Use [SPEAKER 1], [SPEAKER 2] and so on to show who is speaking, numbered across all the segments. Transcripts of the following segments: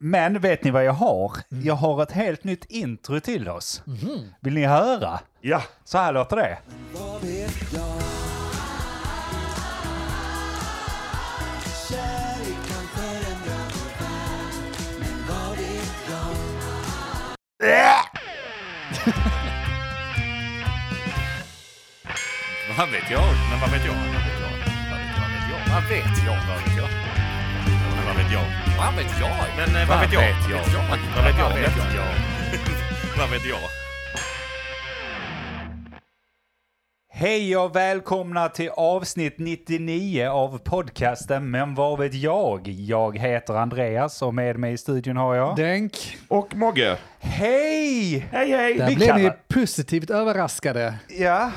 [SPEAKER 1] Men vet ni vad jag har?
[SPEAKER 2] Mm.
[SPEAKER 1] Jag har ett helt nytt intro till oss. Vill ni höra?
[SPEAKER 2] Mhm. Ja.
[SPEAKER 1] Så här låter det.
[SPEAKER 3] Vad vet jag? Kärlek kan förändra vår värld, men vad vet jag?
[SPEAKER 2] Vad vet jag? Men vad vet jag? Vad vet jag? Vad vet jag? Vad vet jag? Men Vad vet jag? Vad vet jag? Men eh, vad vet jag? Vad vet jag? Vad vet jag? Vad vet jag?
[SPEAKER 1] Hej och välkomna till avsnitt 99 av podcasten Men vad vet jag? Jag heter Andreas och med mig i studion har jag...
[SPEAKER 4] Denk.
[SPEAKER 2] Och Mogge.
[SPEAKER 1] Hej! Hej hej!
[SPEAKER 4] Där blev ni positivt överraskade,
[SPEAKER 1] Ja,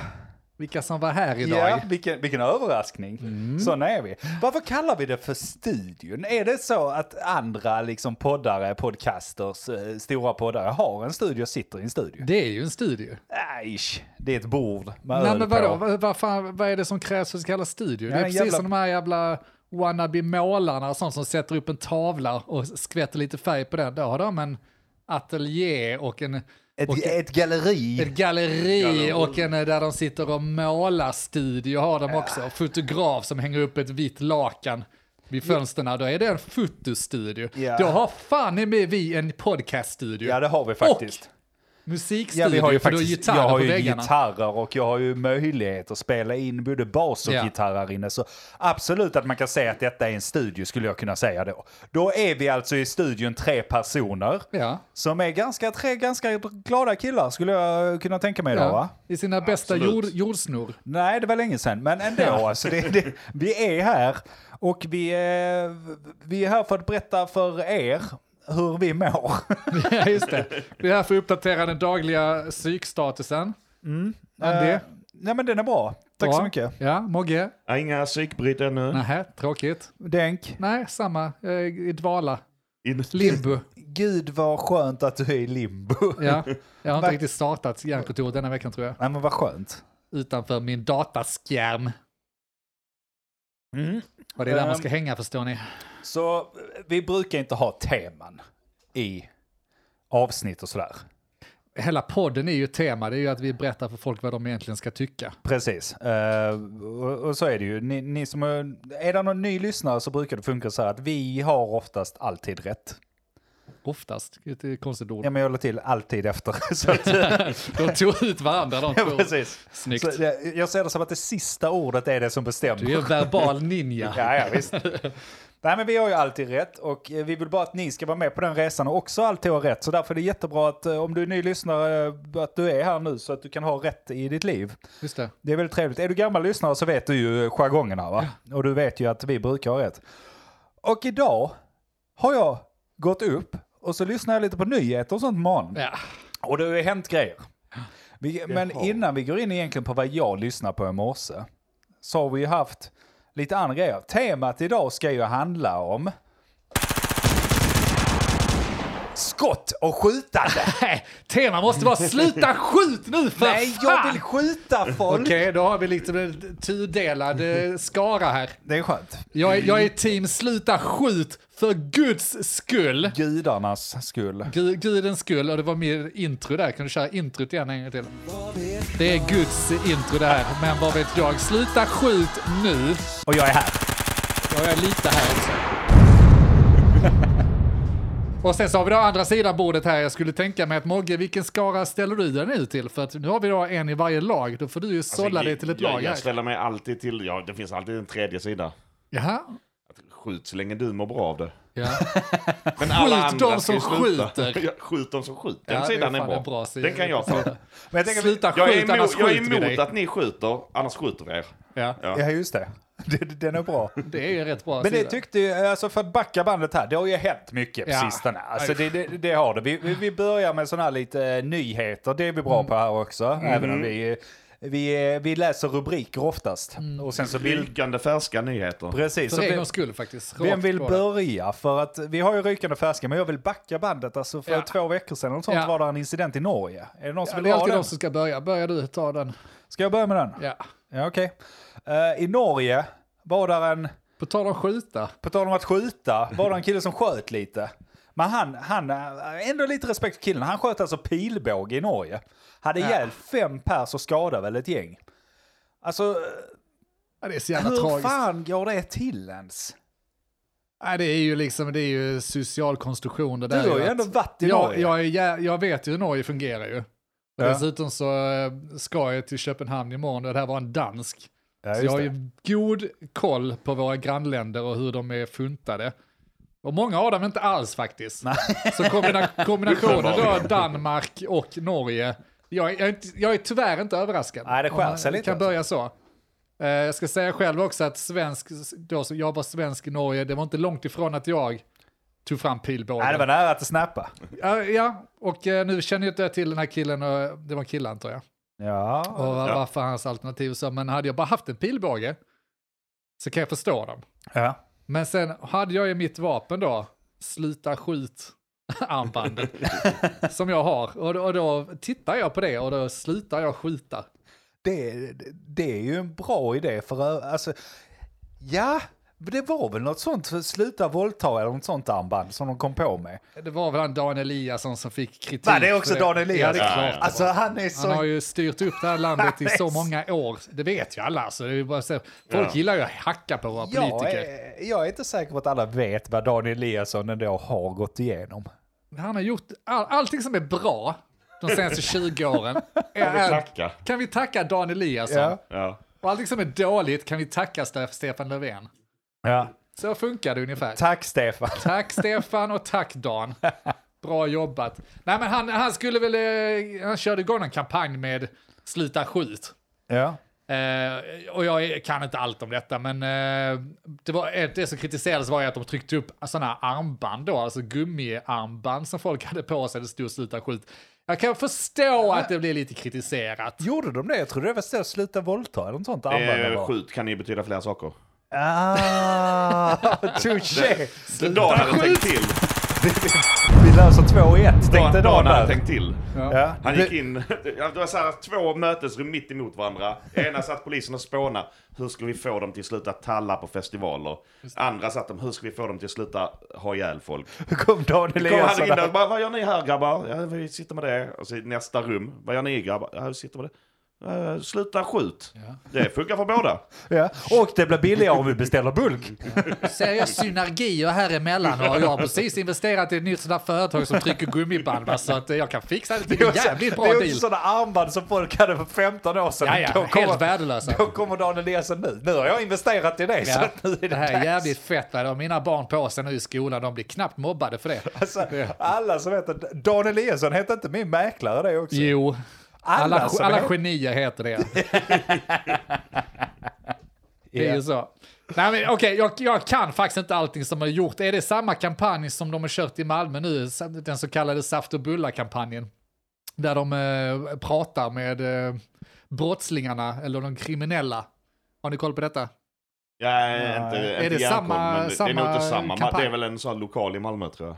[SPEAKER 4] vilka som var här idag. Mm.
[SPEAKER 1] ja vilken, vilken överraskning. Såna är vi. Varför kallar vi det för studion? Är det så att andra liksom poddare, podcasters, eh, stora poddare har en studio och sitter i en studio?
[SPEAKER 4] Det är ju en studio.
[SPEAKER 1] Nej, det är ett bord med
[SPEAKER 4] Nej
[SPEAKER 1] öl
[SPEAKER 4] men vadå,
[SPEAKER 1] på.
[SPEAKER 4] vad, vad, fan, vad är det som krävs för att det ska kallas studio?
[SPEAKER 1] Ja,
[SPEAKER 4] det är
[SPEAKER 1] en
[SPEAKER 4] precis
[SPEAKER 1] jävla-
[SPEAKER 4] som de här jävla wannabe målarna och sånt som sätter upp en tavla och skvätter lite färg på den. Då har de en ateljé och en...
[SPEAKER 1] Ett,
[SPEAKER 4] och
[SPEAKER 1] ett galleri.
[SPEAKER 4] Ett galleri, och en eh, där de sitter och målar studio har de också.
[SPEAKER 1] Ah.
[SPEAKER 4] Fotograf som hänger upp ett vitt lakan vid fönstren. Då är det en fotostudio.
[SPEAKER 1] Ja.
[SPEAKER 4] Då har fan i mig vi en podcaststudio.
[SPEAKER 1] Ja, det har vi faktiskt.
[SPEAKER 4] Och musikstudio,
[SPEAKER 1] Ja, vi har ju
[SPEAKER 4] för du har
[SPEAKER 1] faktiskt, jag
[SPEAKER 4] gitarrer
[SPEAKER 1] har
[SPEAKER 4] på
[SPEAKER 1] ju
[SPEAKER 4] väggarna.
[SPEAKER 1] gitarrer och jag har ju möjlighet att spela in både bas och
[SPEAKER 4] Ja.
[SPEAKER 1] gitarr här inne. Så absolut att man kan säga att detta är en studio skulle jag kunna säga då. Då är vi alltså i studion tre personer.
[SPEAKER 4] Ja.
[SPEAKER 1] Som är ganska, tre ganska glada killar skulle jag kunna tänka mig då va?
[SPEAKER 4] Ja, I sina bästa
[SPEAKER 2] Absolut.
[SPEAKER 4] jord, jordsnor.
[SPEAKER 1] Nej, det var länge sedan, men ändå. Alltså, det, det, vi är här och vi är, vi är här för att berätta för er hur vi mår.
[SPEAKER 4] Ja, just det. Vi är här för att uppdatera den dagliga psykstatusen. Andy?
[SPEAKER 1] Eh, Nej men den är bra. Tack så
[SPEAKER 4] Bra.
[SPEAKER 1] mycket.
[SPEAKER 4] Ja, Mogge?
[SPEAKER 2] Inga psykbryt ännu.
[SPEAKER 4] Nähä, tråkigt.
[SPEAKER 1] Denk.
[SPEAKER 4] Nej, samma. Jag är I dvala.
[SPEAKER 2] In-
[SPEAKER 4] Limbo.
[SPEAKER 1] Gud vad skönt att du är i limbo.
[SPEAKER 4] Ja, jag har inte
[SPEAKER 1] Va?
[SPEAKER 4] riktigt startat hjärnkontoret denna veckan tror jag.
[SPEAKER 1] Nej men vad skönt.
[SPEAKER 4] Utanför min dataskärm.
[SPEAKER 1] Mm.
[SPEAKER 4] Och det är där
[SPEAKER 1] Ehm.
[SPEAKER 4] man ska hänga förstår ni.
[SPEAKER 1] Så eh, vi brukar inte ha teman i avsnitt och sådär.
[SPEAKER 4] Hela podden är ju ett tema, det är ju att vi berättar för folk vad de egentligen ska tycka.
[SPEAKER 1] Precis, Eh, och, och så är det ju. Ni, ni som är, är det någon ny lyssnare så brukar det funka så här att vi har oftast alltid rätt.
[SPEAKER 4] Oftast, det är ett konstigt ord.
[SPEAKER 1] Ja men jag la till alltid efter. Så att,
[SPEAKER 4] De tog ut varandra de
[SPEAKER 1] ja,
[SPEAKER 4] två.
[SPEAKER 1] precis.
[SPEAKER 4] Snyggt.
[SPEAKER 1] Så, jag, jag ser det som att det sista ordet är det som bestämmer.
[SPEAKER 4] Du är en verbal ninja.
[SPEAKER 1] Ja, ja visst. Nej, men vi har ju alltid rätt och eh, vi vill bara att ni ska vara med på den resan och också alltid ha rätt. Så därför är det jättebra att eh, om du är ny lyssnare, eh, att du är här nu så att du kan ha rätt i ditt liv.
[SPEAKER 4] Just det.
[SPEAKER 1] Det är väldigt trevligt. Är du gammal lyssnare så vet du ju eh, jargongerna va? Och du vet ju att vi brukar ha rätt. Och idag har jag gått upp och så lyssnar jag lite på nyheter och sånt på morgonen.
[SPEAKER 4] Ja.
[SPEAKER 1] Och det har ju hänt grejer. Vi, men innan vi går in egentligen på vad jag lyssnar på i morse så har vi ju haft lite andra grejer. Temat idag ska ju handla om skott och skjutande.
[SPEAKER 4] Nej, tema måste vara sluta skjut nu för
[SPEAKER 1] Nej,
[SPEAKER 4] fan!
[SPEAKER 1] jag vill skjuta folk!
[SPEAKER 4] Okej, då har vi lite en tudelad eh, skara här.
[SPEAKER 1] Det är skönt.
[SPEAKER 4] Jag är, jag är team sluta skjut för guds skull.
[SPEAKER 1] Gudarnas skull.
[SPEAKER 4] Gu- Gudens skull, och det var mer intro där. Kan du köra introt igen en gång till?
[SPEAKER 3] Vad vet
[SPEAKER 4] Det är Guds intro det här, men vad vet jag. Sluta skjut nu.
[SPEAKER 1] Och jag är här.
[SPEAKER 4] Jag är lite här också. Och sen så har vi då andra sidan bordet här. Jag skulle tänka mig att Mogge, vilken skara ställer du dig nu till? För att nu har vi då en i varje lag. Då får du ju sålla dig till ett
[SPEAKER 2] Alltså, jag,
[SPEAKER 4] lag
[SPEAKER 2] Jag
[SPEAKER 4] här.
[SPEAKER 2] ställer mig alltid till, ja det finns alltid en tredje sida.
[SPEAKER 4] Jaha.
[SPEAKER 2] Skjut så länge du mår bra av det.
[SPEAKER 4] Ja.
[SPEAKER 2] Men
[SPEAKER 4] de
[SPEAKER 2] ska ju
[SPEAKER 4] som
[SPEAKER 2] sluta.
[SPEAKER 4] skjuter.
[SPEAKER 2] Ja, Skjut de som skjuter. Den
[SPEAKER 4] Ja, det är
[SPEAKER 2] sidan är,
[SPEAKER 4] fan
[SPEAKER 2] bra.
[SPEAKER 4] en bra sida.
[SPEAKER 2] Den kan jag ta.
[SPEAKER 1] Men jag tänker,
[SPEAKER 4] Sluta
[SPEAKER 2] Jag
[SPEAKER 4] skjut,
[SPEAKER 2] är
[SPEAKER 4] annars
[SPEAKER 2] emot, jag är
[SPEAKER 4] skjuter vi dig.
[SPEAKER 2] emot att ni skjuter, annars skjuter vi er.
[SPEAKER 4] Ja,
[SPEAKER 2] Ja.
[SPEAKER 1] Ja, just det. Den- Den är bra.
[SPEAKER 4] det är ju en rätt bra
[SPEAKER 1] Men det
[SPEAKER 4] sida.
[SPEAKER 1] tyckte ju, alltså för att backa bandet här, det har ju hänt mycket på
[SPEAKER 4] Ja.
[SPEAKER 1] sistone. Alltså det, det, det har det. Vi, vi- vi börjar med sådana här lite eh, nyheter, det är vi
[SPEAKER 4] Mm.
[SPEAKER 1] bra på här också. Även om vi, eh, vi, eh, vi läser rubriker oftast. Och sen så vill...
[SPEAKER 2] Rykande färska nyheter.
[SPEAKER 1] Precis.
[SPEAKER 4] Mm. För
[SPEAKER 1] så
[SPEAKER 4] en
[SPEAKER 1] vem,
[SPEAKER 4] gångs skull faktiskt.
[SPEAKER 1] vem
[SPEAKER 4] Rakt
[SPEAKER 1] vill
[SPEAKER 4] på det.
[SPEAKER 1] börja? För att vi har ju rykande färska, men jag vill backa bandet. Alltså för
[SPEAKER 4] Ja.
[SPEAKER 1] två veckor sedan eller sånt
[SPEAKER 4] Ja.
[SPEAKER 1] var det en incident i Norge. Är det någon som
[SPEAKER 4] Ja, det
[SPEAKER 1] vill
[SPEAKER 4] är
[SPEAKER 1] ha
[SPEAKER 4] alltid
[SPEAKER 1] den?
[SPEAKER 4] de som ska börja. Börja du, ta den.
[SPEAKER 1] Ska jag börja med den?
[SPEAKER 4] Ja.
[SPEAKER 1] Ja, okej. Eh, I Norge var där en...
[SPEAKER 4] På tal om skjuta.
[SPEAKER 1] På tal om att skjuta, var det en kille som sköt lite. Men han, han, eh, ändå lite respekt för killen. Han sköt alltså pilbåge i Norge. Hade ihjäl fem pers och skadade väl ett gäng. Alltså,
[SPEAKER 4] Ja, det är så jävla
[SPEAKER 1] hur
[SPEAKER 4] tragiskt.
[SPEAKER 1] fan går det till ens?
[SPEAKER 4] Nej, det är ju liksom, det är ju social konstruktion det där.
[SPEAKER 1] Du har ju
[SPEAKER 4] att-
[SPEAKER 1] ändå varit i
[SPEAKER 4] jag,
[SPEAKER 1] Norge.
[SPEAKER 4] jag, är, jä- jag vet ju hur Norge fungerar ju.
[SPEAKER 1] Ja.
[SPEAKER 4] Dessutom så eh, ska jag till Köpenhamn imorgon och det här var en dansk.
[SPEAKER 1] Ja,
[SPEAKER 4] så
[SPEAKER 1] just
[SPEAKER 4] jag har
[SPEAKER 1] det.
[SPEAKER 4] ju god koll på våra grannländer och hur de är funtade. Och många av dem inte alls faktiskt. Så kombina- kombinationen då Danmark och Norge. Jag, är- jag, är inte, jag är tyvärr inte överraskad.
[SPEAKER 1] Nej, det
[SPEAKER 4] Om man
[SPEAKER 1] skär sig lite
[SPEAKER 4] kan
[SPEAKER 1] alltså.
[SPEAKER 4] börja så. Eh, Jag ska säga själv också att svensk, då, som jag var svensk i Norge, det var inte långt ifrån att jag tog fram pilbågen.
[SPEAKER 1] Nej, det var nära att det snappade.
[SPEAKER 4] Ja, ja, och eh, nu känner jag inte till den här killen, och, det var en kille antar jag,
[SPEAKER 1] Ja.
[SPEAKER 4] och va- varför hans alternativ så, men hade jag bara haft en pilbåge så kan jag förstå dem.
[SPEAKER 1] ja.
[SPEAKER 4] Men sen hade jag ju mitt vapen då, sluta skjut armbandet som jag har. Och, då- och då tittar jag på det och då slutar jag skjuta.
[SPEAKER 1] Det, det- det är ju en bra idé för ö- alltså, ja, det var väl något sånt, för sluta våldta eller något sånt armband som de kom på med.
[SPEAKER 4] Det var väl han Dan Eliasson som fick kritik.
[SPEAKER 1] Va, det är också
[SPEAKER 4] för
[SPEAKER 1] Dan Eliasson?
[SPEAKER 4] Ja, det är klart. det var.
[SPEAKER 1] Alltså han är
[SPEAKER 4] Han har
[SPEAKER 1] så...
[SPEAKER 4] ju styrt upp det här landet i
[SPEAKER 1] Han är
[SPEAKER 4] så
[SPEAKER 1] så-
[SPEAKER 4] många år. Det vet ju alla. Så det är ju bara så. Folk
[SPEAKER 5] Ja.
[SPEAKER 4] gillar ju att hacka på våra
[SPEAKER 1] Jag
[SPEAKER 4] politiker.
[SPEAKER 1] är, jag är inte säker på att alla vet vad Daniel Eliasson ändå har gått igenom.
[SPEAKER 4] Han har gjort all, allting som är bra de senaste 20 åren. Kan
[SPEAKER 5] vi tacka?
[SPEAKER 4] Kan vi tacka Dan Eliasson?
[SPEAKER 1] Ja.
[SPEAKER 5] Ja.
[SPEAKER 4] Och allting som är dåligt kan vi tacka Ste- Stefan Löfven.
[SPEAKER 1] Ja.
[SPEAKER 4] Så funkar det ungefär.
[SPEAKER 1] Tack Stefan.
[SPEAKER 4] tack Stefan och tack Dan. Bra jobbat. Nej men han, han skulle väl, eh, han körde igång en kampanj med Sluta skjut.
[SPEAKER 1] Ja.
[SPEAKER 4] Eh, och jag kan inte allt om detta, men eh, det, var, eh, det som kritiserades var ju att de tryckte upp sådana armband då, alltså gummiarmband som folk hade på sig, det stod sluta skjut. Jag kan förstå att det blir lite kritiserat.
[SPEAKER 1] Gjorde de det? Jag trodde det var så, sluta våldta eller något sånt armband. det
[SPEAKER 5] Eh,
[SPEAKER 1] var.
[SPEAKER 5] skjut kan ju betyda flera saker.
[SPEAKER 1] Ah, touché!
[SPEAKER 5] Dan hade tänkt till.
[SPEAKER 1] Vi löser två i ett, tänkte
[SPEAKER 5] Dan, Dan
[SPEAKER 1] Dan
[SPEAKER 5] hade
[SPEAKER 1] där.
[SPEAKER 5] tänkt till.
[SPEAKER 1] Ja.
[SPEAKER 5] Han gick in, det var så här, två mötesrum mitt emot varandra. Ena satt polisen och spåna. hur ska vi få dem till att sluta talla på festivaler? Andra satt de, hur ska vi få dem till att sluta ha ihjäl folk?
[SPEAKER 1] Hur kom Dan
[SPEAKER 5] Kom han in
[SPEAKER 1] Eliasson?
[SPEAKER 5] där och bara, vad gör ni här grabbar? Ja, vi sitter med det. Och så i nästa rum, vad gör ni grabbar? Ja, vi sitter med det. Eh, sluta skjut. Det funkar för båda.
[SPEAKER 1] Ja. Och det blir billigare om vi beställer bulk.
[SPEAKER 4] Ser jag synergier här emellan och jag har precis investerat i ett nytt sådant företag som trycker gummiband, va, så att jag kan fixa det till en jävligt bra
[SPEAKER 1] det är
[SPEAKER 4] deal.
[SPEAKER 1] också sådana armband som folk hade för 15 år sedan.
[SPEAKER 4] Ja, ja,
[SPEAKER 1] Då
[SPEAKER 4] helt
[SPEAKER 1] kommer-
[SPEAKER 4] värdelösa.
[SPEAKER 1] Då kommer Dan Eliasson nu. Nu har jag investerat i det. Så
[SPEAKER 4] Ja,
[SPEAKER 1] att nu är det,
[SPEAKER 4] det här är
[SPEAKER 1] dags.
[SPEAKER 4] jävligt fett, va? Det har mina barn på sig nu i skolan, de blir knappt mobbade för det.
[SPEAKER 1] Alltså, alla som heter Dan Eliasson heter inte min mäklare det också.
[SPEAKER 4] Jo.
[SPEAKER 1] Alltså, Alla
[SPEAKER 4] Alla,
[SPEAKER 1] som
[SPEAKER 4] alla
[SPEAKER 1] är-
[SPEAKER 4] genier heter det. det är ju så. Nej, men, okej, jag, jag kan faktiskt inte allting som har gjort. Är det samma kampanj som de har kört i Malmö nu? Den så kallade saft och bullar-kampanjen. Där de eh, pratar med eh, brottslingarna eller de kriminella. Har ni koll på detta?
[SPEAKER 5] Ja, inte,
[SPEAKER 1] är
[SPEAKER 5] inte järnkoll,
[SPEAKER 4] det samma-
[SPEAKER 5] men det, det är nog
[SPEAKER 4] samma
[SPEAKER 5] inte samma.
[SPEAKER 4] kampanj?
[SPEAKER 5] Det är väl en sån här lokal i Malmö tror jag.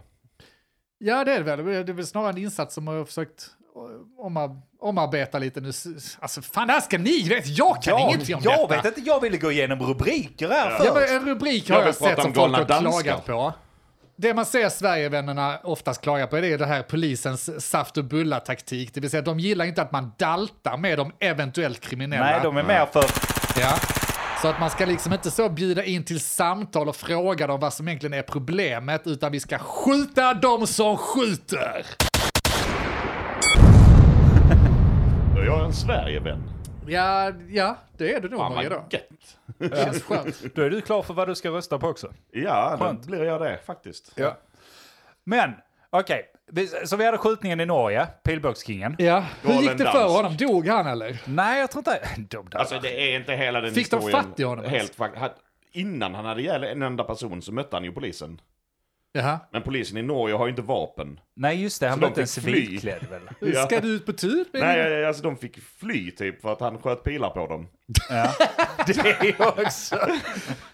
[SPEAKER 4] Ja, det är det väl. Det är väl snarare en insats som har försökt eh, omar- omarbeta lite nu. Alltså, fan, det här ska ni veta. Jag kan
[SPEAKER 1] jag
[SPEAKER 4] ingenting om
[SPEAKER 1] jag
[SPEAKER 4] detta.
[SPEAKER 1] vet inte, jag ville gå igenom rubriker här
[SPEAKER 4] Ja, men
[SPEAKER 1] först.
[SPEAKER 4] en rubrik
[SPEAKER 5] Jag
[SPEAKER 4] har jag,
[SPEAKER 5] vill
[SPEAKER 4] sett
[SPEAKER 5] prata
[SPEAKER 4] som
[SPEAKER 5] om
[SPEAKER 4] folk
[SPEAKER 5] galna
[SPEAKER 4] har
[SPEAKER 5] danskar.
[SPEAKER 4] klagat på. Det man ser Sverigevännerna oftast klaga på det är det här polisens saft och bulla-taktik. Det vill säga, de gillar inte att man daltar med de eventuellt kriminella.
[SPEAKER 1] Nej, de är mer för...
[SPEAKER 4] Ja. Så att man ska liksom inte så bjuda in till samtal och fråga dem vad som egentligen är problemet, utan vi ska skjuta dem som skjuter.
[SPEAKER 5] Då är jag en Sverigevän.
[SPEAKER 4] Ja, ja det är det nog
[SPEAKER 5] Fan
[SPEAKER 4] Norge
[SPEAKER 5] vad
[SPEAKER 4] då.
[SPEAKER 5] gött.
[SPEAKER 4] Det känns skönt.
[SPEAKER 1] Då är du klar för vad du ska rösta på också.
[SPEAKER 5] Ja, då
[SPEAKER 1] Skönt.
[SPEAKER 5] blir jag det faktiskt.
[SPEAKER 1] Ja. Men, okej. Vi- Så vi hade skjutningen i Norge, pilbågskingen.
[SPEAKER 4] Ja. Hur
[SPEAKER 5] Galen
[SPEAKER 4] gick det för
[SPEAKER 5] dansk.
[SPEAKER 4] honom? Dog han eller?
[SPEAKER 1] Nej, jag tror inte... De där.
[SPEAKER 5] Alltså det är inte hela den
[SPEAKER 4] Fick de
[SPEAKER 5] historien.
[SPEAKER 4] fatt i honom?
[SPEAKER 5] Helt fakt- han- Innan han hade ihjäl en enda person så mötte han ju polisen.
[SPEAKER 4] Jaha.
[SPEAKER 5] Men polisen i Norge har ju inte vapen.
[SPEAKER 1] Nej, just det. Han
[SPEAKER 5] Så
[SPEAKER 1] var
[SPEAKER 5] de
[SPEAKER 1] inte ens
[SPEAKER 5] fick fly.
[SPEAKER 1] civilklädd väl?
[SPEAKER 5] Ja.
[SPEAKER 4] Ska du ut på tur?
[SPEAKER 5] Nej, alltså de fick fly typ för att han sköt pilar på dem.
[SPEAKER 1] Det är också...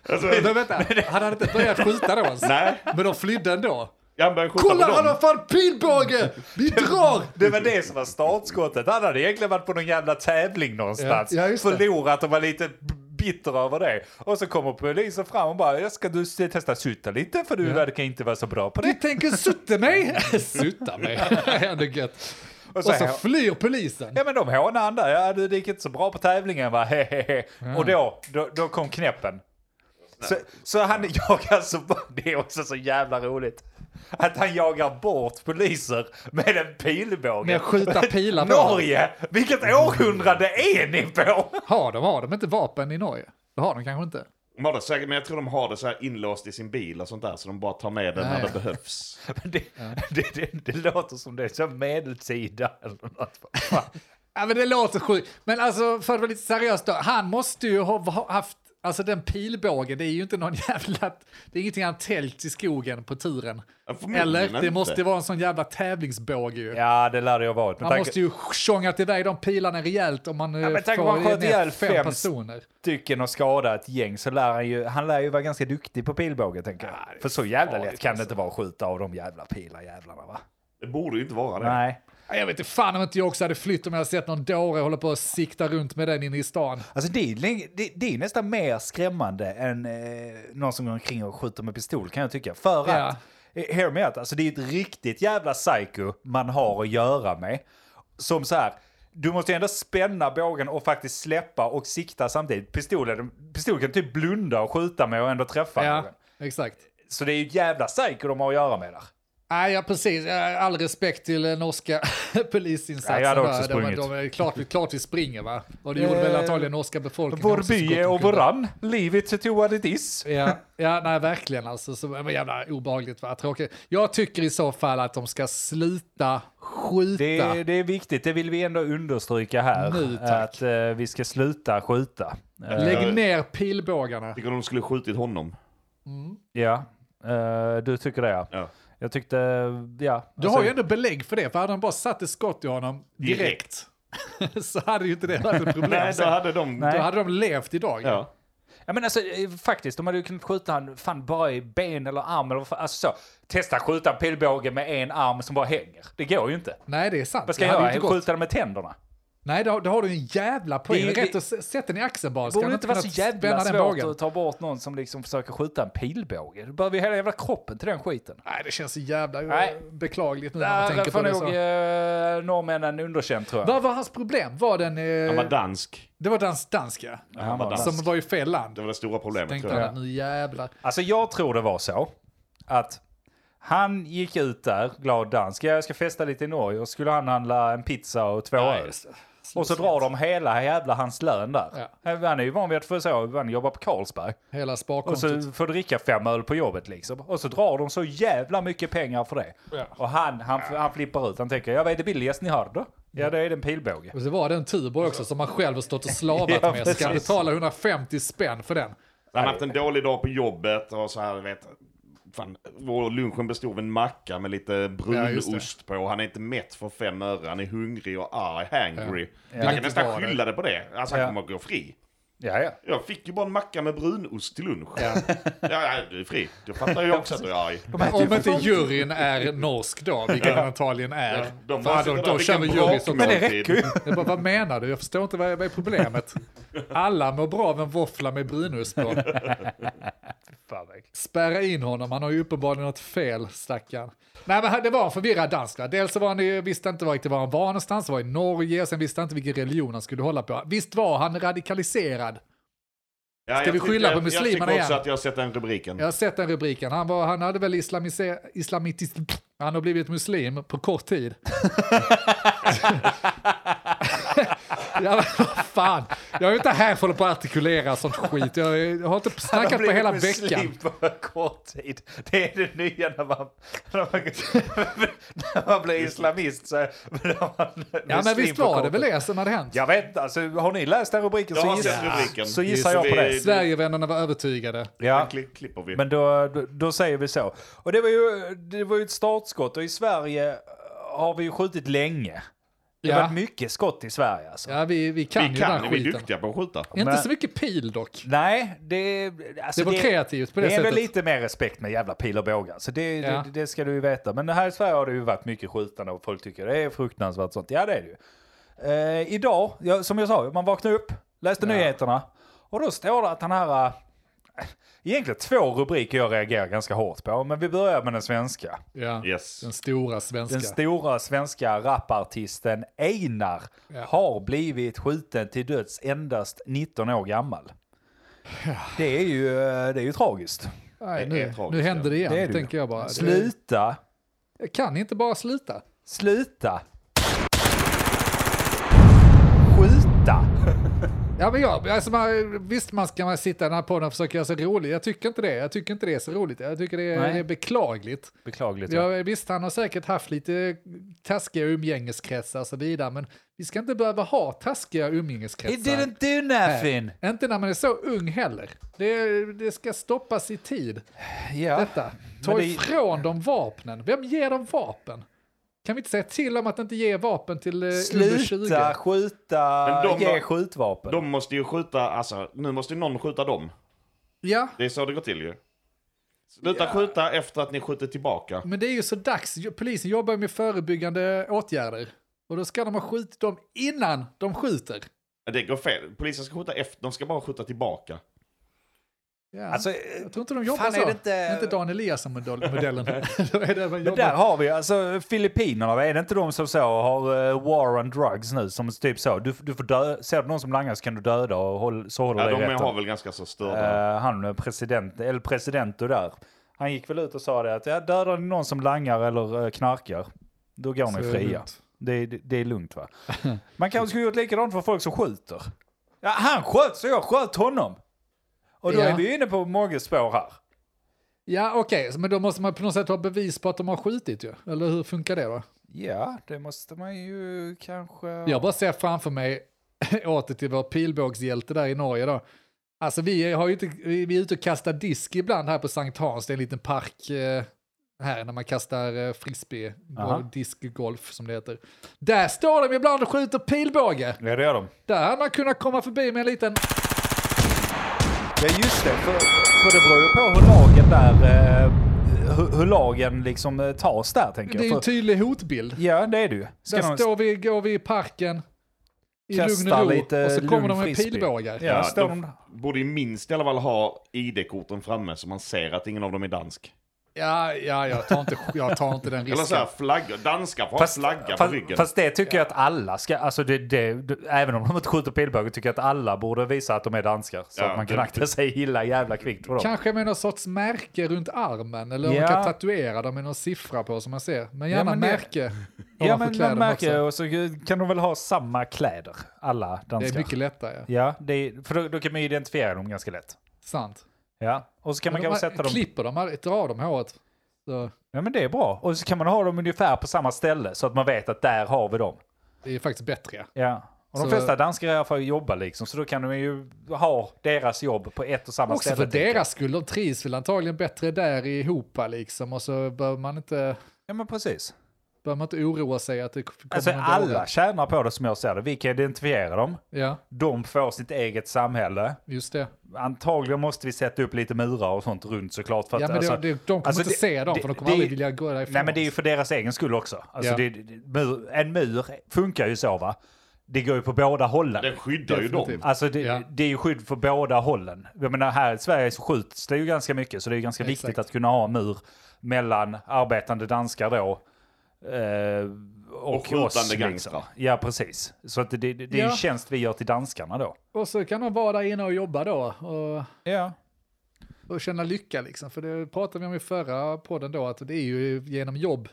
[SPEAKER 5] Alltså,
[SPEAKER 4] Men vänta, han hade inte börjat skjuta då ens.
[SPEAKER 5] nej,
[SPEAKER 4] Men de flydde ändå.
[SPEAKER 5] han började skjuta
[SPEAKER 4] Kolla,
[SPEAKER 5] på
[SPEAKER 4] han
[SPEAKER 5] dem.
[SPEAKER 4] har fan pilbåge! Vi drar!
[SPEAKER 1] Det var det som var startskottet. Han hade egentligen varit på någon jävla tävling någonstans.
[SPEAKER 4] Ja, ja, just det.
[SPEAKER 1] Förlorat och var lite b- bitter över det. Och så kommer polisen fram och bara, jag ska du se- testa sutta lite för du verkar inte vara så bra på
[SPEAKER 4] Du
[SPEAKER 1] det.
[SPEAKER 4] tänker sutta mig? sutta mig, det är gött. Och
[SPEAKER 1] så
[SPEAKER 4] så,
[SPEAKER 1] här-
[SPEAKER 4] flyr polisen.
[SPEAKER 1] Ja men de hånade han där, ja du det gick inte så bra på tävlingen va, hehehe. Och då, då, då kom knäppen. Så, så han jagar så, det är också så jävla roligt. Att han jagar bort poliser med en pilbåge.
[SPEAKER 4] Med att skjuta pilar på dem.
[SPEAKER 1] Norge! Vilket århundrade är ni på?
[SPEAKER 4] Har de, har de inte vapen i Norge? Det har de kanske inte.
[SPEAKER 2] De har det säkert, men jag tror de har det så här inlåst i sin bil och sånt där, så de bara tar med den när
[SPEAKER 4] Nej.
[SPEAKER 2] det behövs.
[SPEAKER 1] Det, det, det, det låter som det är som medeltida eller något.
[SPEAKER 4] Ja, men det låter sjukt. Men alltså, för att vara lite seriös då. Han måste ju ha ha haft, alltså den pilbågen, det är ju inte någon jävla, det är ingenting han tält i skogen på turen.
[SPEAKER 2] Ja, förmodligen
[SPEAKER 4] Eller?
[SPEAKER 2] inte.
[SPEAKER 4] Det måste vara en sån jävla tävlingsbåge ju.
[SPEAKER 1] Ja, det lär det ju ha varit. Men
[SPEAKER 4] Man måste ju tjongat iväg de pilarna rejält om man ja,
[SPEAKER 1] men tänk om man
[SPEAKER 4] får
[SPEAKER 1] sköt
[SPEAKER 4] ner
[SPEAKER 1] ihjäl
[SPEAKER 4] fem,
[SPEAKER 1] fem
[SPEAKER 4] personer.
[SPEAKER 1] stycken och skada ett gäng så lär han ju, han lär ju vara ganska duktig på pilbåge tänker jag. För så jävla lätt
[SPEAKER 4] alltså.
[SPEAKER 1] kan det inte vara att skjuta av de jävla pilarjävlarna va?
[SPEAKER 2] Det borde ju inte vara det.
[SPEAKER 1] Nej.
[SPEAKER 4] Ja, Jag vet inte fan om inte jag också hade flytt om jag hade sett någon dåre hålla på och sikta runt med den inne i stan.
[SPEAKER 1] Alltså det är, läng- det, det är nästan mer skrämmande än eh, någon som går omkring och skjuter med pistol kan jag tycka. För att,
[SPEAKER 4] Ja.
[SPEAKER 1] eh, hear me out, alltså det är ett riktigt jävla psycho man har att göra med. Som så här, du måste ju ändå spänna bågen och faktiskt släppa och sikta samtidigt. Pistolen, pistol kan typ blunda och skjuta med och ändå träffa någon.
[SPEAKER 4] Ja, exakt.
[SPEAKER 1] Så det är ju ett jävla psycho de har att göra med där.
[SPEAKER 4] Nej, ja, precis. Eh, All respekt till eh, norska polisinsatsen.
[SPEAKER 1] Nej, jag hade
[SPEAKER 4] va?
[SPEAKER 1] också
[SPEAKER 4] de, de,
[SPEAKER 1] sprungit.
[SPEAKER 4] de, är klart, vi- klart vi springer, va? Och det gjorde väl
[SPEAKER 1] Eh,
[SPEAKER 4] antagligen norska befolkningen
[SPEAKER 1] Vår
[SPEAKER 4] också, så gott
[SPEAKER 1] by
[SPEAKER 4] de
[SPEAKER 1] är
[SPEAKER 4] kunde.
[SPEAKER 1] overrun, leave it to what it is.
[SPEAKER 4] Ja, ja, nej verkligen alltså. Så det var jävla obehagligt, va? Tråkigt. Jag tycker i så fall att de ska sluta skjuta.
[SPEAKER 1] Det, det är viktigt, det vill vi ändå understryka här.
[SPEAKER 4] Nu, tack.
[SPEAKER 1] att eh, vi ska sluta skjuta. Eh,
[SPEAKER 4] Lägg ner pilbågarna.
[SPEAKER 2] Jag tycker de skulle skjutit honom.
[SPEAKER 1] ja, Eh, du tycker det ja.
[SPEAKER 2] Ja.
[SPEAKER 1] Jag tyckte, ja. alltså-
[SPEAKER 4] Du har ju ändå belägg för det, för hade de bara satt ett skott i honom direkt, så hade ju inte det varit ett problem.
[SPEAKER 2] Nej, då hade de...
[SPEAKER 4] Då
[SPEAKER 1] Nej.
[SPEAKER 4] hade de levt idag.
[SPEAKER 2] Ja.
[SPEAKER 1] ja, men alltså, eh, faktiskt, de hade ju kunnat skjuta han fan bara i ben eller arm eller vad fan- alltså, så. Testa skjuta en pilbåge med en arm som bara hänger. Det går ju inte.
[SPEAKER 4] Nej, det är sant.
[SPEAKER 1] Vad ska
[SPEAKER 4] Det
[SPEAKER 1] jag
[SPEAKER 4] hade ju
[SPEAKER 1] göra?
[SPEAKER 4] inte gått.
[SPEAKER 1] Skjuta den med tänderna?
[SPEAKER 4] Nej, då, då har du en jävla poäng.
[SPEAKER 1] Det är-
[SPEAKER 4] Det, Rätt
[SPEAKER 1] det-
[SPEAKER 4] att s- sätta den i axeln bara.
[SPEAKER 1] Det
[SPEAKER 4] han
[SPEAKER 1] borde inte vara så
[SPEAKER 4] kunna
[SPEAKER 1] jävla
[SPEAKER 4] spänna den
[SPEAKER 1] svårt
[SPEAKER 4] bågen?
[SPEAKER 1] att ta bort någon som liksom försöker skjuta en pilbåge. Då behöver vi hela jävla kroppen till den skiten.
[SPEAKER 4] Nej, det känns så jävla eh,
[SPEAKER 1] Nej.
[SPEAKER 4] beklagligt nu när man
[SPEAKER 1] Där
[SPEAKER 4] tänker
[SPEAKER 1] får
[SPEAKER 4] på det.
[SPEAKER 1] nog
[SPEAKER 4] Så.
[SPEAKER 1] eh, norrmännen underkänt tror jag.
[SPEAKER 4] Vad var hans problem? Var den...
[SPEAKER 2] Han var
[SPEAKER 4] Eh,
[SPEAKER 2] dansk.
[SPEAKER 4] det var dans, danska.
[SPEAKER 2] Han var dansk.
[SPEAKER 4] Som var i fel land.
[SPEAKER 2] Det var det stora problemet
[SPEAKER 4] Tänkte
[SPEAKER 2] tror jag.
[SPEAKER 4] han, nu jävlar.
[SPEAKER 1] Alltså jag tror det var så att han gick ut där, glad dansk, "Ja, jag ska festa lite i Norge och skulle han handla en pizza och två öl. Och så drar de hela jävla hans lön där. Eh, Han är ju van vid att få så, han jobbar på Carlsberg.
[SPEAKER 4] Hela
[SPEAKER 1] Och
[SPEAKER 4] sparkontot.
[SPEAKER 1] så får du dricka fem öl på jobbet liksom. Och så drar de så jävla mycket pengar för det.
[SPEAKER 4] Ja.
[SPEAKER 1] Och han, han, han flippar ut, han tänker, ja vad är det billigaste ni har då? Ja det är den pilbåge.
[SPEAKER 4] Och så var det en Tuborg också som han själv har stått och slavat
[SPEAKER 1] Ja,
[SPEAKER 4] med. Ska han
[SPEAKER 1] precis.
[SPEAKER 4] betala 150 spänn för den?
[SPEAKER 2] Han har haft en dålig dag på jobbet och så här, vet... Fan, vår lunchen bestod av en macka med lite
[SPEAKER 4] Ja, just det.
[SPEAKER 2] brunost på. Han är inte mätt för fem öre. Han är hungrig och arg, hangry.
[SPEAKER 4] Vill
[SPEAKER 2] Han kan
[SPEAKER 4] inte vara
[SPEAKER 2] nästan
[SPEAKER 4] det.
[SPEAKER 2] skylla det på det. Alltså han
[SPEAKER 1] Ja.
[SPEAKER 2] kommer att gå fri.
[SPEAKER 1] Ja, ja.
[SPEAKER 2] Jag fick ju bara en macka med brunost till lunch. Ja, ja du är fri. Då fattar jag också att du är arg.
[SPEAKER 4] Om inte juryn är norsk då, vilket den antagligen är.
[SPEAKER 2] Ja, Äh, de
[SPEAKER 4] För
[SPEAKER 2] bara
[SPEAKER 4] då,
[SPEAKER 2] sitter
[SPEAKER 4] då
[SPEAKER 2] där,
[SPEAKER 4] kör vi
[SPEAKER 2] vilken
[SPEAKER 4] jury
[SPEAKER 2] brak
[SPEAKER 4] som
[SPEAKER 1] Men det räcker ju.
[SPEAKER 4] Jag bara, vad menar du? Jag förstår inte vad, vad är problemet. Alla mår bra av en våffla med brunost på.
[SPEAKER 1] Fan, vad äckligt.
[SPEAKER 4] Spärra in honom, han har ju uppenbarligen något fel, stackarn. Nej men det var en förvirrad dansk va? Dels så var han ju, visste inte riktigt var han var någonstans, var i Norge, sen visste han inte vilken religion han skulle hålla på. Visst var han radikaliserad?
[SPEAKER 2] Ja,
[SPEAKER 4] Ska vi skylla på
[SPEAKER 2] Jag
[SPEAKER 4] muslimerna
[SPEAKER 2] tycker också
[SPEAKER 4] igen?
[SPEAKER 2] att jag har sett den rubriken.
[SPEAKER 4] Jag har sett den rubriken, han, var, han hade väl islamiser, islamitisk... Han har blivit muslim på kort tid. ja, men vad fan. Jag är ju inte här för att bara artikulera sånt skit. Jag, jag har inte snackat på
[SPEAKER 1] blivit
[SPEAKER 4] hela
[SPEAKER 1] muslim
[SPEAKER 4] veckan.
[SPEAKER 1] på kort tid. Det är det nya när man, när man, när man blir islamist. Så blir man
[SPEAKER 4] Ja, men
[SPEAKER 1] muslim
[SPEAKER 4] visst
[SPEAKER 1] på
[SPEAKER 4] var det
[SPEAKER 1] kort
[SPEAKER 4] väl
[SPEAKER 1] tid.
[SPEAKER 4] det som hade hänt?
[SPEAKER 1] Jag vet inte, alltså, har ni läst den rubriken
[SPEAKER 2] Jag
[SPEAKER 1] så,
[SPEAKER 2] har sett
[SPEAKER 1] gissar-
[SPEAKER 2] rubriken.
[SPEAKER 1] så gissar
[SPEAKER 2] Så
[SPEAKER 1] jag på
[SPEAKER 2] vi-
[SPEAKER 1] det.
[SPEAKER 4] Sverigevännerna var övertygade.
[SPEAKER 1] Ja,
[SPEAKER 2] Den kli- klipper vi.
[SPEAKER 1] men då, då, då säger vi så. Och det var ju, det var ju ett startskott och i Sverige har vi ju skjutit länge. Det har
[SPEAKER 4] Ja.
[SPEAKER 1] varit mycket skott i Sverige alltså.
[SPEAKER 4] Ja, vi, vi kan
[SPEAKER 2] vi
[SPEAKER 4] ju
[SPEAKER 2] kan,
[SPEAKER 4] den
[SPEAKER 2] vi är
[SPEAKER 4] skiten.
[SPEAKER 2] duktiga på att skjuta.
[SPEAKER 4] Inte
[SPEAKER 1] Men-
[SPEAKER 4] så mycket pil dock.
[SPEAKER 1] Nej, det... Alltså,
[SPEAKER 4] Det var kreativt på det
[SPEAKER 1] är väl
[SPEAKER 4] sättet.
[SPEAKER 1] lite mer respekt med jävla pil och bågar. Så det,
[SPEAKER 4] Ja.
[SPEAKER 1] det, det ska du ju veta. Men här i Sverige har det ju varit mycket skjutande och folk tycker det är fruktansvärt sånt. Ja, det är det ju. Eh, idag, ja, som jag sa, man vaknade upp, läste nyheterna Och då står det att den här... Äh, egentligen två rubriker jag reagerar ganska hårt på, men vi börjar med den svenska.
[SPEAKER 4] Ja.
[SPEAKER 2] Yes.
[SPEAKER 4] Den stora svenska.
[SPEAKER 1] Den stora svenska rapartisten Einar har blivit skjuten till döds endast 19 år gammal. Det är ju, eh, det är ju tragiskt.
[SPEAKER 4] Nej,
[SPEAKER 2] Det är
[SPEAKER 4] nu,
[SPEAKER 2] tragiskt,
[SPEAKER 4] nu händer det igen,
[SPEAKER 1] Det är det
[SPEAKER 4] tänker jag bara. Det,
[SPEAKER 1] Sluta,
[SPEAKER 4] jag kan inte bara sluta.
[SPEAKER 1] sluta. Skjuta.
[SPEAKER 4] Ja, men jag, alltså man, visst, man ska man sitta i den här podden och försöka göra sig rolig. Jag tycker inte det. Jag tycker inte det är så roligt. Jag tycker det är,
[SPEAKER 1] Nej.
[SPEAKER 4] det är beklagligt.
[SPEAKER 1] Beklagligt. Ja.
[SPEAKER 4] Jag, visst, han har säkert haft lite taskiga umgängeskretsar och så vidare, men vi ska inte behöva ha taskiga
[SPEAKER 1] He
[SPEAKER 4] umgängeskretsar.
[SPEAKER 1] didn't do nothing.
[SPEAKER 4] Inte när man är så ung heller. Det, det ska stoppas i tid.
[SPEAKER 1] Ja.
[SPEAKER 4] Detta. eh, Ta
[SPEAKER 1] Men det-
[SPEAKER 4] ifrån dem vapnen. Vem ger dem vapen? Kan vi inte säga till om att inte ge vapen till eh, under 20?
[SPEAKER 1] Sluta skjuta,
[SPEAKER 2] Men de
[SPEAKER 1] ge
[SPEAKER 2] var-
[SPEAKER 1] skjutvapen.
[SPEAKER 2] De måste ju skjuta, alltså nu måste ju någon skjuta dem.
[SPEAKER 4] Ja,
[SPEAKER 2] Det är så det går till ju. Sluta skjuta efter att ni skjuter tillbaka.
[SPEAKER 4] men det är ju så dags. Jo- Polisen jobbar ju med förebyggande åtgärder. Och då ska de ha skjutit dem innan de skjuter.
[SPEAKER 2] Det går fel. Polisen ska skjuta efter, de ska bara skjuta tillbaka.
[SPEAKER 4] Ja.
[SPEAKER 1] Alltså,
[SPEAKER 4] jag tror inte de jobbar
[SPEAKER 1] fan,
[SPEAKER 4] så.
[SPEAKER 1] är det inte-
[SPEAKER 4] inte Dan Eliasson-modellen. Då är det man
[SPEAKER 1] Men
[SPEAKER 4] jobbar-
[SPEAKER 1] där har vi alltså Filippinerna, är det inte de som så har eh, war on drugs nu? Som typ så, du, du får dö, ser du någon som langar så kan du döda och håll, så håller
[SPEAKER 2] Ja,
[SPEAKER 1] du dig
[SPEAKER 2] de
[SPEAKER 1] i rätten.
[SPEAKER 2] har väl ganska så störda.
[SPEAKER 1] Eh, han president, eller president och där. Han gick väl ut och sa det att ja, dödar ni någon som langar eller eh, knarkar, då går
[SPEAKER 4] Så
[SPEAKER 1] ni
[SPEAKER 4] är det
[SPEAKER 1] fria.
[SPEAKER 4] lugnt.
[SPEAKER 1] Det är, det, det är lugnt va? Man kanske skulle gjort likadant för folk som skjuter. Ja, han sköt så jag sköt honom. Och då
[SPEAKER 4] Ja.
[SPEAKER 1] är vi inne på Mogges spår här.
[SPEAKER 4] Ja, okej, men då måste man på något sätt ha bevis på att de har skjutit ju. Eller hur funkar det då?
[SPEAKER 1] Ja, det måste man ju kanske...
[SPEAKER 4] Jag bara ser framför mig, åter till vår pilbågshjälte där i Norge då. Alltså vi, har ju inte, vi vi är ute och kastar disk ibland här på Sankt Hans, det är en liten park eh, här när man kastar eh, frisbee,
[SPEAKER 1] Aha.
[SPEAKER 4] gol- diskgolf som det heter. Där står de ibland och skjuter pilbåge.
[SPEAKER 1] Ja, det gör de.
[SPEAKER 4] Där hade man kunnat komma förbi med en liten...
[SPEAKER 1] Ja just det, för, för det beror ju på hur lagen där, eh, hur, hur lagen liksom eh, tas där tänker
[SPEAKER 4] Det är ju
[SPEAKER 1] jag.
[SPEAKER 4] en
[SPEAKER 1] För,
[SPEAKER 4] tydlig hotbild.
[SPEAKER 1] ja det är det ju. Ska
[SPEAKER 4] Där
[SPEAKER 1] någon-
[SPEAKER 4] står vi, går vi i parken i lugn
[SPEAKER 1] Kastar
[SPEAKER 4] och ro
[SPEAKER 1] lite
[SPEAKER 4] och så
[SPEAKER 1] lugn
[SPEAKER 4] kommer de med
[SPEAKER 1] frisbee.
[SPEAKER 4] pilbågar.
[SPEAKER 1] Ja, står de
[SPEAKER 2] de borde ju minst i alla fall ha ID-korten framme så man ser att ingen av dem är dansk.
[SPEAKER 4] Ja, ja, jag tar inte, jag tar inte den
[SPEAKER 2] Eller så
[SPEAKER 4] risken.
[SPEAKER 2] här flaggor, danskar får ha flagga på
[SPEAKER 1] fast,
[SPEAKER 2] ryggen.
[SPEAKER 1] fast det tycker jag att alla ska, alltså det, det, det, även om de inte skjuter pilbåge tycker jag att alla borde visa att de är danskar. Så
[SPEAKER 2] Ja,
[SPEAKER 1] att man kan
[SPEAKER 2] det-
[SPEAKER 1] akta sig illa jävla kvickt på dem.
[SPEAKER 4] Kanske med någon sorts märke runt armen eller om
[SPEAKER 1] Ja.
[SPEAKER 4] man kan tatuera dem med någon siffra på som man ser. Men gärna
[SPEAKER 1] men det-
[SPEAKER 4] märke.
[SPEAKER 1] ja
[SPEAKER 4] ovanför
[SPEAKER 1] men man
[SPEAKER 4] kläderna
[SPEAKER 1] märker
[SPEAKER 4] också.
[SPEAKER 1] och så kan de väl ha samma kläder, alla
[SPEAKER 4] Det
[SPEAKER 1] danskar.
[SPEAKER 4] är mycket lättare. Ja.
[SPEAKER 1] Ja, det är, för då, då kan man ju identifiera dem ganska lätt.
[SPEAKER 4] Sant.
[SPEAKER 1] Ja, och så kan man
[SPEAKER 4] Men de
[SPEAKER 1] kanske
[SPEAKER 4] här-
[SPEAKER 1] sätta dem...
[SPEAKER 4] Klipper dem, här, drar dem håret. Så
[SPEAKER 1] Ja men det är bra. Och så kan man ha dem ungefär på samma ställe så att man vet att där har vi dem.
[SPEAKER 4] det är faktiskt bättre. ja.
[SPEAKER 1] Ja. Och de
[SPEAKER 4] Så-
[SPEAKER 1] flesta danskar är här för att jobba liksom, så då kan de ju ha deras jobb på ett och samma
[SPEAKER 4] Också
[SPEAKER 1] ställe.
[SPEAKER 4] för
[SPEAKER 1] tänker jag.
[SPEAKER 4] deras skull, de trivs väl antagligen bättre där ihop liksom. Och så behöver man inte,
[SPEAKER 1] Ja men precis.
[SPEAKER 4] behöver man inte oroa sig att det kommer
[SPEAKER 1] Alltså
[SPEAKER 4] någon
[SPEAKER 1] alla
[SPEAKER 4] dåre.
[SPEAKER 1] tjänar på det som jag ser det. Vi kan identifiera dem.
[SPEAKER 4] Ja,
[SPEAKER 1] De får sitt eget samhälle.
[SPEAKER 4] just det.
[SPEAKER 1] Antagligen måste vi sätta upp lite murar och sånt runt såklart. För att,
[SPEAKER 4] Ja, men
[SPEAKER 1] alltså,
[SPEAKER 4] det, det, de kommer
[SPEAKER 1] alltså,
[SPEAKER 4] inte
[SPEAKER 1] det-
[SPEAKER 4] se dem
[SPEAKER 1] det-
[SPEAKER 4] för de kommer
[SPEAKER 1] det-
[SPEAKER 4] aldrig vilja gå därifrån.
[SPEAKER 1] Nej men det är ju för deras egen skull också. Alltså,
[SPEAKER 4] Ja.
[SPEAKER 1] det, det- mur, en mur funkar ju så va? Det går ju på båda hållen.
[SPEAKER 2] Den skyddar ju dem.
[SPEAKER 4] Definitivt.
[SPEAKER 1] Alltså det,
[SPEAKER 4] Ja.
[SPEAKER 1] det är ju skydd för båda hållen. Jag menar här i Sverige så skjuts det ju ganska mycket så det är ju ganska
[SPEAKER 4] Exakt.
[SPEAKER 1] viktigt att kunna ha en mur mellan arbetande danskar då eh, och,
[SPEAKER 2] Och skjutande
[SPEAKER 1] oss. liksom.
[SPEAKER 2] gangstrar.
[SPEAKER 1] Ja precis. Så att det, det, det är
[SPEAKER 4] Ja.
[SPEAKER 1] en tjänst vi gör till danskarna då.
[SPEAKER 4] Och så kan de vara där inne och jobba då. Och...
[SPEAKER 1] Ja.
[SPEAKER 4] och känna lycka liksom. För det pratade vi om i förra podden då, att det är ju genom jobb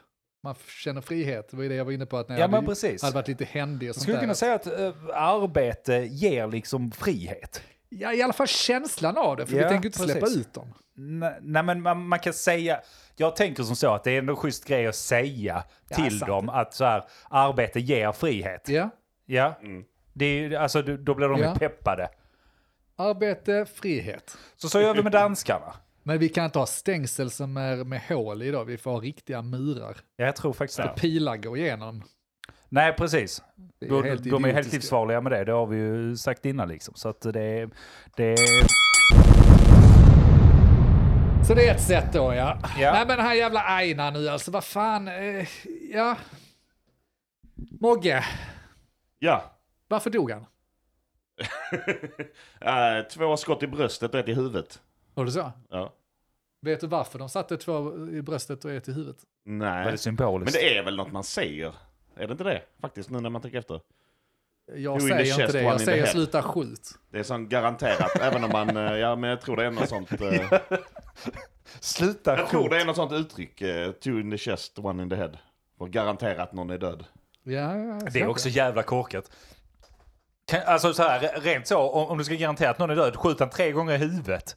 [SPEAKER 4] man f- känner frihet. Det var ju det jag var inne på, att när
[SPEAKER 1] Ja,
[SPEAKER 4] jag
[SPEAKER 1] men
[SPEAKER 4] hade-
[SPEAKER 1] precis.
[SPEAKER 4] hade varit lite händig och
[SPEAKER 1] Jag
[SPEAKER 4] sånt
[SPEAKER 1] skulle
[SPEAKER 4] där.
[SPEAKER 1] kunna säga att eh, arbete ger liksom frihet.
[SPEAKER 4] Ja, i alla fall känslan av det, för
[SPEAKER 1] Ja,
[SPEAKER 4] vi tänker ju inte släppa
[SPEAKER 1] precis.
[SPEAKER 4] ut dem.
[SPEAKER 1] Nej, nej men man, man kan säga, jag tänker som så att det är en schysst grej att säga till
[SPEAKER 4] sant.
[SPEAKER 1] dem att så här, arbete ger frihet.
[SPEAKER 4] Ja,
[SPEAKER 1] Ja.
[SPEAKER 5] Mm.
[SPEAKER 1] Det är, ju- alltså, då- då blir de
[SPEAKER 4] Ja.
[SPEAKER 1] ju peppade.
[SPEAKER 4] arbete, frihet.
[SPEAKER 1] Så så gör vi med danskarna.
[SPEAKER 4] Men vi kan inte ha stängsel som är med hål i då, vi får ha riktiga murar.
[SPEAKER 1] Ja, jag tror faktiskt det.
[SPEAKER 4] Pilar går igenom.
[SPEAKER 1] Nej, precis.
[SPEAKER 4] Det är
[SPEAKER 1] Då,
[SPEAKER 4] helt
[SPEAKER 1] de är ju helt
[SPEAKER 4] idiotiskt.
[SPEAKER 1] livsfarliga med det, det har vi ju sagt innan liksom. Så att det är... Det är
[SPEAKER 4] Så det är ett sätt då ja.
[SPEAKER 1] Ja.
[SPEAKER 4] Nej men den här jävla Aina nu alltså, vad fan, eh, ja. Mogge,
[SPEAKER 2] Ja,
[SPEAKER 4] varför dog han?
[SPEAKER 5] Eh, två skott i bröstet och ett i huvudet.
[SPEAKER 4] Var det så?
[SPEAKER 5] Ja.
[SPEAKER 4] Vet du varför de satte två i bröstet och ett i huvudet?
[SPEAKER 5] Nej.
[SPEAKER 1] Väldigt symboliskt.
[SPEAKER 5] Men det är väl något man säger? Är det inte det? Faktiskt, nu när man tänker efter. in
[SPEAKER 4] Jag
[SPEAKER 5] the
[SPEAKER 4] säger inte
[SPEAKER 5] chest,
[SPEAKER 4] det,
[SPEAKER 5] one in
[SPEAKER 4] jag
[SPEAKER 5] the
[SPEAKER 4] säger
[SPEAKER 5] head.
[SPEAKER 4] sluta skjut.
[SPEAKER 5] Det är som garanterat, även om man, eh, ja men jag tror det är något sånt. eh,
[SPEAKER 1] Sluta
[SPEAKER 5] Jag tror
[SPEAKER 1] skjut.
[SPEAKER 5] det är något sånt uttryck, eh, two in the chest, one in the head. Och garanterat någon är död.
[SPEAKER 4] Ja, ja,
[SPEAKER 1] Det är
[SPEAKER 4] kanske.
[SPEAKER 1] också jävla korkat. Kan- Alltså så här, rent så, om, om du ska garantera att någon är död, skjut han tre gånger i huvudet.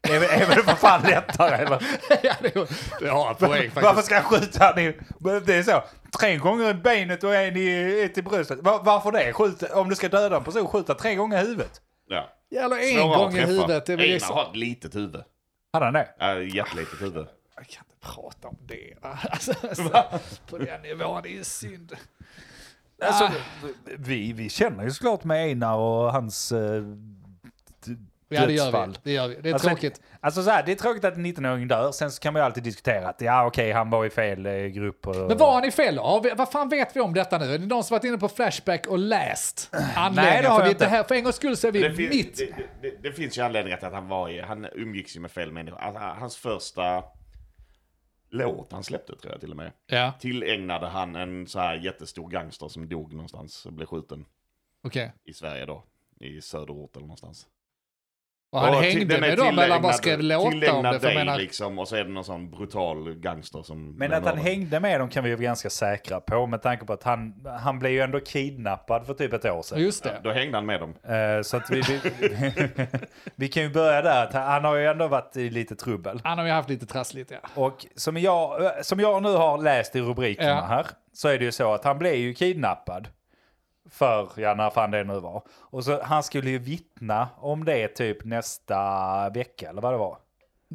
[SPEAKER 1] Det är, väl- är väl för fan lättare eller?
[SPEAKER 4] ja, det är- det har en poäng
[SPEAKER 1] Varför
[SPEAKER 4] faktiskt.
[SPEAKER 1] ska jag skjuta han i... Men Det är så, tre gånger i benet och en i, ett i bröstet. Var, varför det? Skjut, om du ska döda en person, skjuta tre gånger i huvudet.
[SPEAKER 5] Ja.
[SPEAKER 4] Ja, eller en
[SPEAKER 5] Svårare att
[SPEAKER 4] gång i
[SPEAKER 5] träffa.
[SPEAKER 4] huvudet. Det är väl
[SPEAKER 5] Einar
[SPEAKER 4] liksom...
[SPEAKER 5] har ett litet huvud.
[SPEAKER 1] Hade han det?
[SPEAKER 5] Ja, jättelitet huvud.
[SPEAKER 4] Jag kan inte prata om det. Alltså, alltså, på den nivån, det är ju synd.
[SPEAKER 1] Alltså,
[SPEAKER 4] Ah.
[SPEAKER 1] vi, vi känner ju såklart med Einar och hans eh, d-
[SPEAKER 4] Ja, det gör
[SPEAKER 1] dödsfall.
[SPEAKER 4] vi. Det, gör vi. det är
[SPEAKER 1] Alltså,
[SPEAKER 4] tråkigt.
[SPEAKER 1] Alltså så här, det är tråkigt att en 19-åring dör, sen så kan man ju alltid diskutera att ja okej, han var i fel eh, grupp. Och...
[SPEAKER 4] Men var han i fel? Ja, vi- vad fan vet vi om detta nu? Är det någon som varit inne på Flashback och läst anledningen?
[SPEAKER 1] det har
[SPEAKER 4] för,
[SPEAKER 1] jag
[SPEAKER 4] vi-
[SPEAKER 1] inte.
[SPEAKER 4] det här, för en gångs skull så är vi
[SPEAKER 5] Det, fin-
[SPEAKER 4] mitt.
[SPEAKER 5] det, det- det, det finns ju anledningar till att han var i, han umgicks ju med fel människor. Alltså, hans första låt han släppte tror jag till och med.
[SPEAKER 4] Ja,
[SPEAKER 5] Tillägnade han en så här jättestor gangster som dog någonstans och blev skjuten
[SPEAKER 4] okej.
[SPEAKER 5] i Sverige då. I söderort eller någonstans.
[SPEAKER 4] Och han
[SPEAKER 5] Och till-
[SPEAKER 4] hängde
[SPEAKER 5] den är
[SPEAKER 4] med dem eller han bara
[SPEAKER 5] tillägnad-
[SPEAKER 4] skrev låtar om
[SPEAKER 5] tillägnad
[SPEAKER 4] det? För jag
[SPEAKER 5] dig,
[SPEAKER 4] menar,
[SPEAKER 5] liksom, och så är det någon sån brutal gangster som...
[SPEAKER 1] Men
[SPEAKER 5] blir
[SPEAKER 1] att han
[SPEAKER 5] mördad.
[SPEAKER 1] hängde med dem kan vi ju vara ganska säkra på med tanke på att han, han blev ju ändå kidnappad för typ ett år sedan.
[SPEAKER 4] just
[SPEAKER 5] Ja,
[SPEAKER 4] det.
[SPEAKER 5] då hängde han med dem.
[SPEAKER 1] Eh, så att vi, vi, vi kan ju börja där. att Han har ju ändå varit i lite trubbel.
[SPEAKER 4] Han har ju haft lite trassligt, ja.
[SPEAKER 1] Och som jag, eh, som jag nu har läst i rubrikerna
[SPEAKER 4] Ja.
[SPEAKER 1] här så är det ju så att han blev ju kidnappad. För, ja när fan det nu var. Och så han skulle ju vittna om det typ nästa vecka eller vad det var.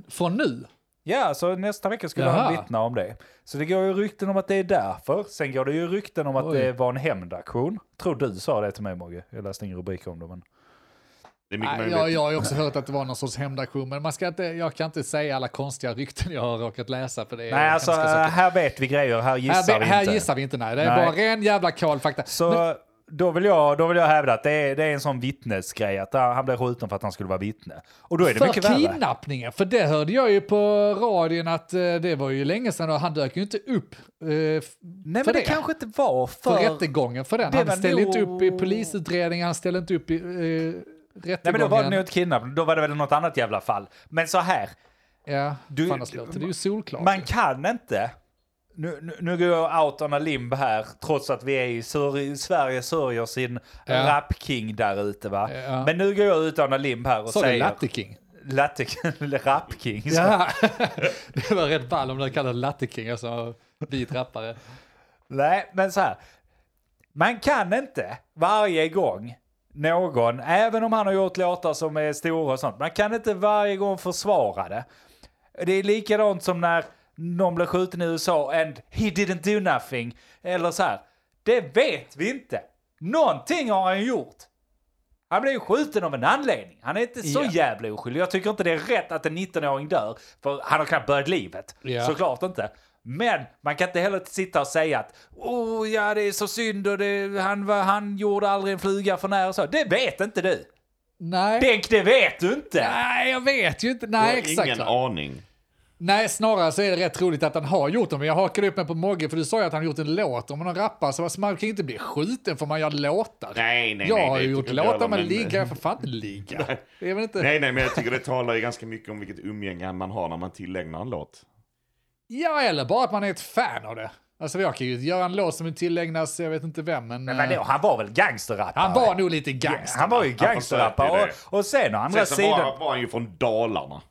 [SPEAKER 4] Från nu?
[SPEAKER 1] Ja, så nästa vecka skulle
[SPEAKER 4] Jaha.
[SPEAKER 1] han vittna om det. Så det går ju rykten om att det är därför. Sen går det ju rykten om att
[SPEAKER 4] Oj.
[SPEAKER 1] det var en hämndaktion. Tror du sa det till mig Mogge. Jag läste ingen rubrik om det men.
[SPEAKER 5] Det är mycket
[SPEAKER 4] Nej,
[SPEAKER 5] möjligt.
[SPEAKER 4] jag, jag har ju också hört att det var någon sorts hämndaktion, men man ska inte, jag kan inte säga alla konstiga rykten jag har råkat läsa. För det är
[SPEAKER 1] Nej, alltså
[SPEAKER 4] Eh, hemska saker.
[SPEAKER 1] här vet vi grejer, här gissar
[SPEAKER 4] här,
[SPEAKER 1] vi
[SPEAKER 4] vi-
[SPEAKER 1] inte.
[SPEAKER 4] här gissar vi inte, nej. Det är
[SPEAKER 1] Nej.
[SPEAKER 4] bara ren jävla kolfakta.
[SPEAKER 1] Så då, vill jag, då vill jag hävda att det är, det är en sån vittnesgrej, att ah, han blev skjuten för att han skulle vara vittne. Och då är det
[SPEAKER 4] För
[SPEAKER 1] mycket värre.
[SPEAKER 4] kidnappningen, för det hörde jag ju på radion att eh, det var ju länge sedan och han dök ju inte upp eh, f-
[SPEAKER 1] Nej,
[SPEAKER 4] för
[SPEAKER 1] men det kanske inte var
[SPEAKER 4] för
[SPEAKER 1] för...
[SPEAKER 4] rättegången för den.
[SPEAKER 1] det var
[SPEAKER 4] Han ställde inte
[SPEAKER 1] nog-
[SPEAKER 4] upp i polisutredningen, han ställde inte upp i eh,
[SPEAKER 1] Nej, men då
[SPEAKER 4] rättegången.
[SPEAKER 1] var det nog ett kidnappning, då var det väl något annat jävla fall. Men så här,
[SPEAKER 4] Ja,
[SPEAKER 1] Du-
[SPEAKER 4] fan, alltså, det är ju solklart.
[SPEAKER 1] man kan inte... Nu, nu, nu går jag out on a limb här, trots att vi är i Sör, Sverige sörjer sin
[SPEAKER 4] Ja.
[SPEAKER 1] rapking där ute va.
[SPEAKER 4] Ja.
[SPEAKER 1] Men nu går jag ut on a limb här och
[SPEAKER 4] Sa du
[SPEAKER 1] säger...
[SPEAKER 4] Latte King?
[SPEAKER 1] Latte... rapking.
[SPEAKER 4] Ja, det var rätt ball om du kallade Latte King, alltså vit rappare.
[SPEAKER 1] Nej, men så här. Man kan inte varje gång någon, även om han har gjort låtar som är stora och sånt, man kan inte varje gång försvara det. Det är likadant som när någon blev skjuten i USA and he didn't do nothing. Eller så här, det vet vi inte. Någonting har han gjort. Han blev ju skjuten av en anledning. Han är inte så
[SPEAKER 4] Ja.
[SPEAKER 1] jävla oskyldig. Jag tycker inte det är rätt att en 19-åring dör, för han har knappt börjat livet.
[SPEAKER 4] Ja.
[SPEAKER 1] Såklart inte. Men man kan inte heller sitta och säga att oh, ja, det är så synd och det, han, var, han gjorde aldrig en fluga för nära och så. Det vet inte du.
[SPEAKER 4] Nej.
[SPEAKER 1] Denk, det vet du inte.
[SPEAKER 4] Nej, jag vet ju inte.
[SPEAKER 5] Jag
[SPEAKER 4] Nej,
[SPEAKER 5] har
[SPEAKER 4] exakt.
[SPEAKER 5] ingen
[SPEAKER 4] va?
[SPEAKER 5] aning.
[SPEAKER 4] Nej, snarare så är det rätt roligt att han har gjort det. Men jag hakade upp mig på Mogge, för du sa ju att han gjort en låt om någon rappare. Så man kan ju inte bli skjuten för man gör låtar.
[SPEAKER 5] Nej, nej,
[SPEAKER 4] jag
[SPEAKER 5] nej,
[SPEAKER 4] har
[SPEAKER 5] det
[SPEAKER 4] ju gjort
[SPEAKER 5] tycker inte jag
[SPEAKER 4] låtar,
[SPEAKER 5] heller, men-
[SPEAKER 4] men
[SPEAKER 5] eh,
[SPEAKER 4] ligga, jag får fan inte ligga. Det är väl inte...
[SPEAKER 5] Nej, nej, men jag tycker det talar ju ganska mycket om vilket umgänge man har när man tillägnar en låt.
[SPEAKER 4] Ja, eller bara att man är ett fan av det. Alltså jag kan ju göra en låt som tillägnas, jag vet inte vem, men...
[SPEAKER 1] Men
[SPEAKER 4] eh,
[SPEAKER 1] då, han var väl gangsterrappare?
[SPEAKER 4] han var nog lite gangster.
[SPEAKER 1] Han var ju
[SPEAKER 5] Han
[SPEAKER 1] gangsterrappare.
[SPEAKER 5] försökte ju
[SPEAKER 1] Och, och sen å andra
[SPEAKER 5] Sen så
[SPEAKER 1] sidan...
[SPEAKER 5] var, var han ju från Dalarna.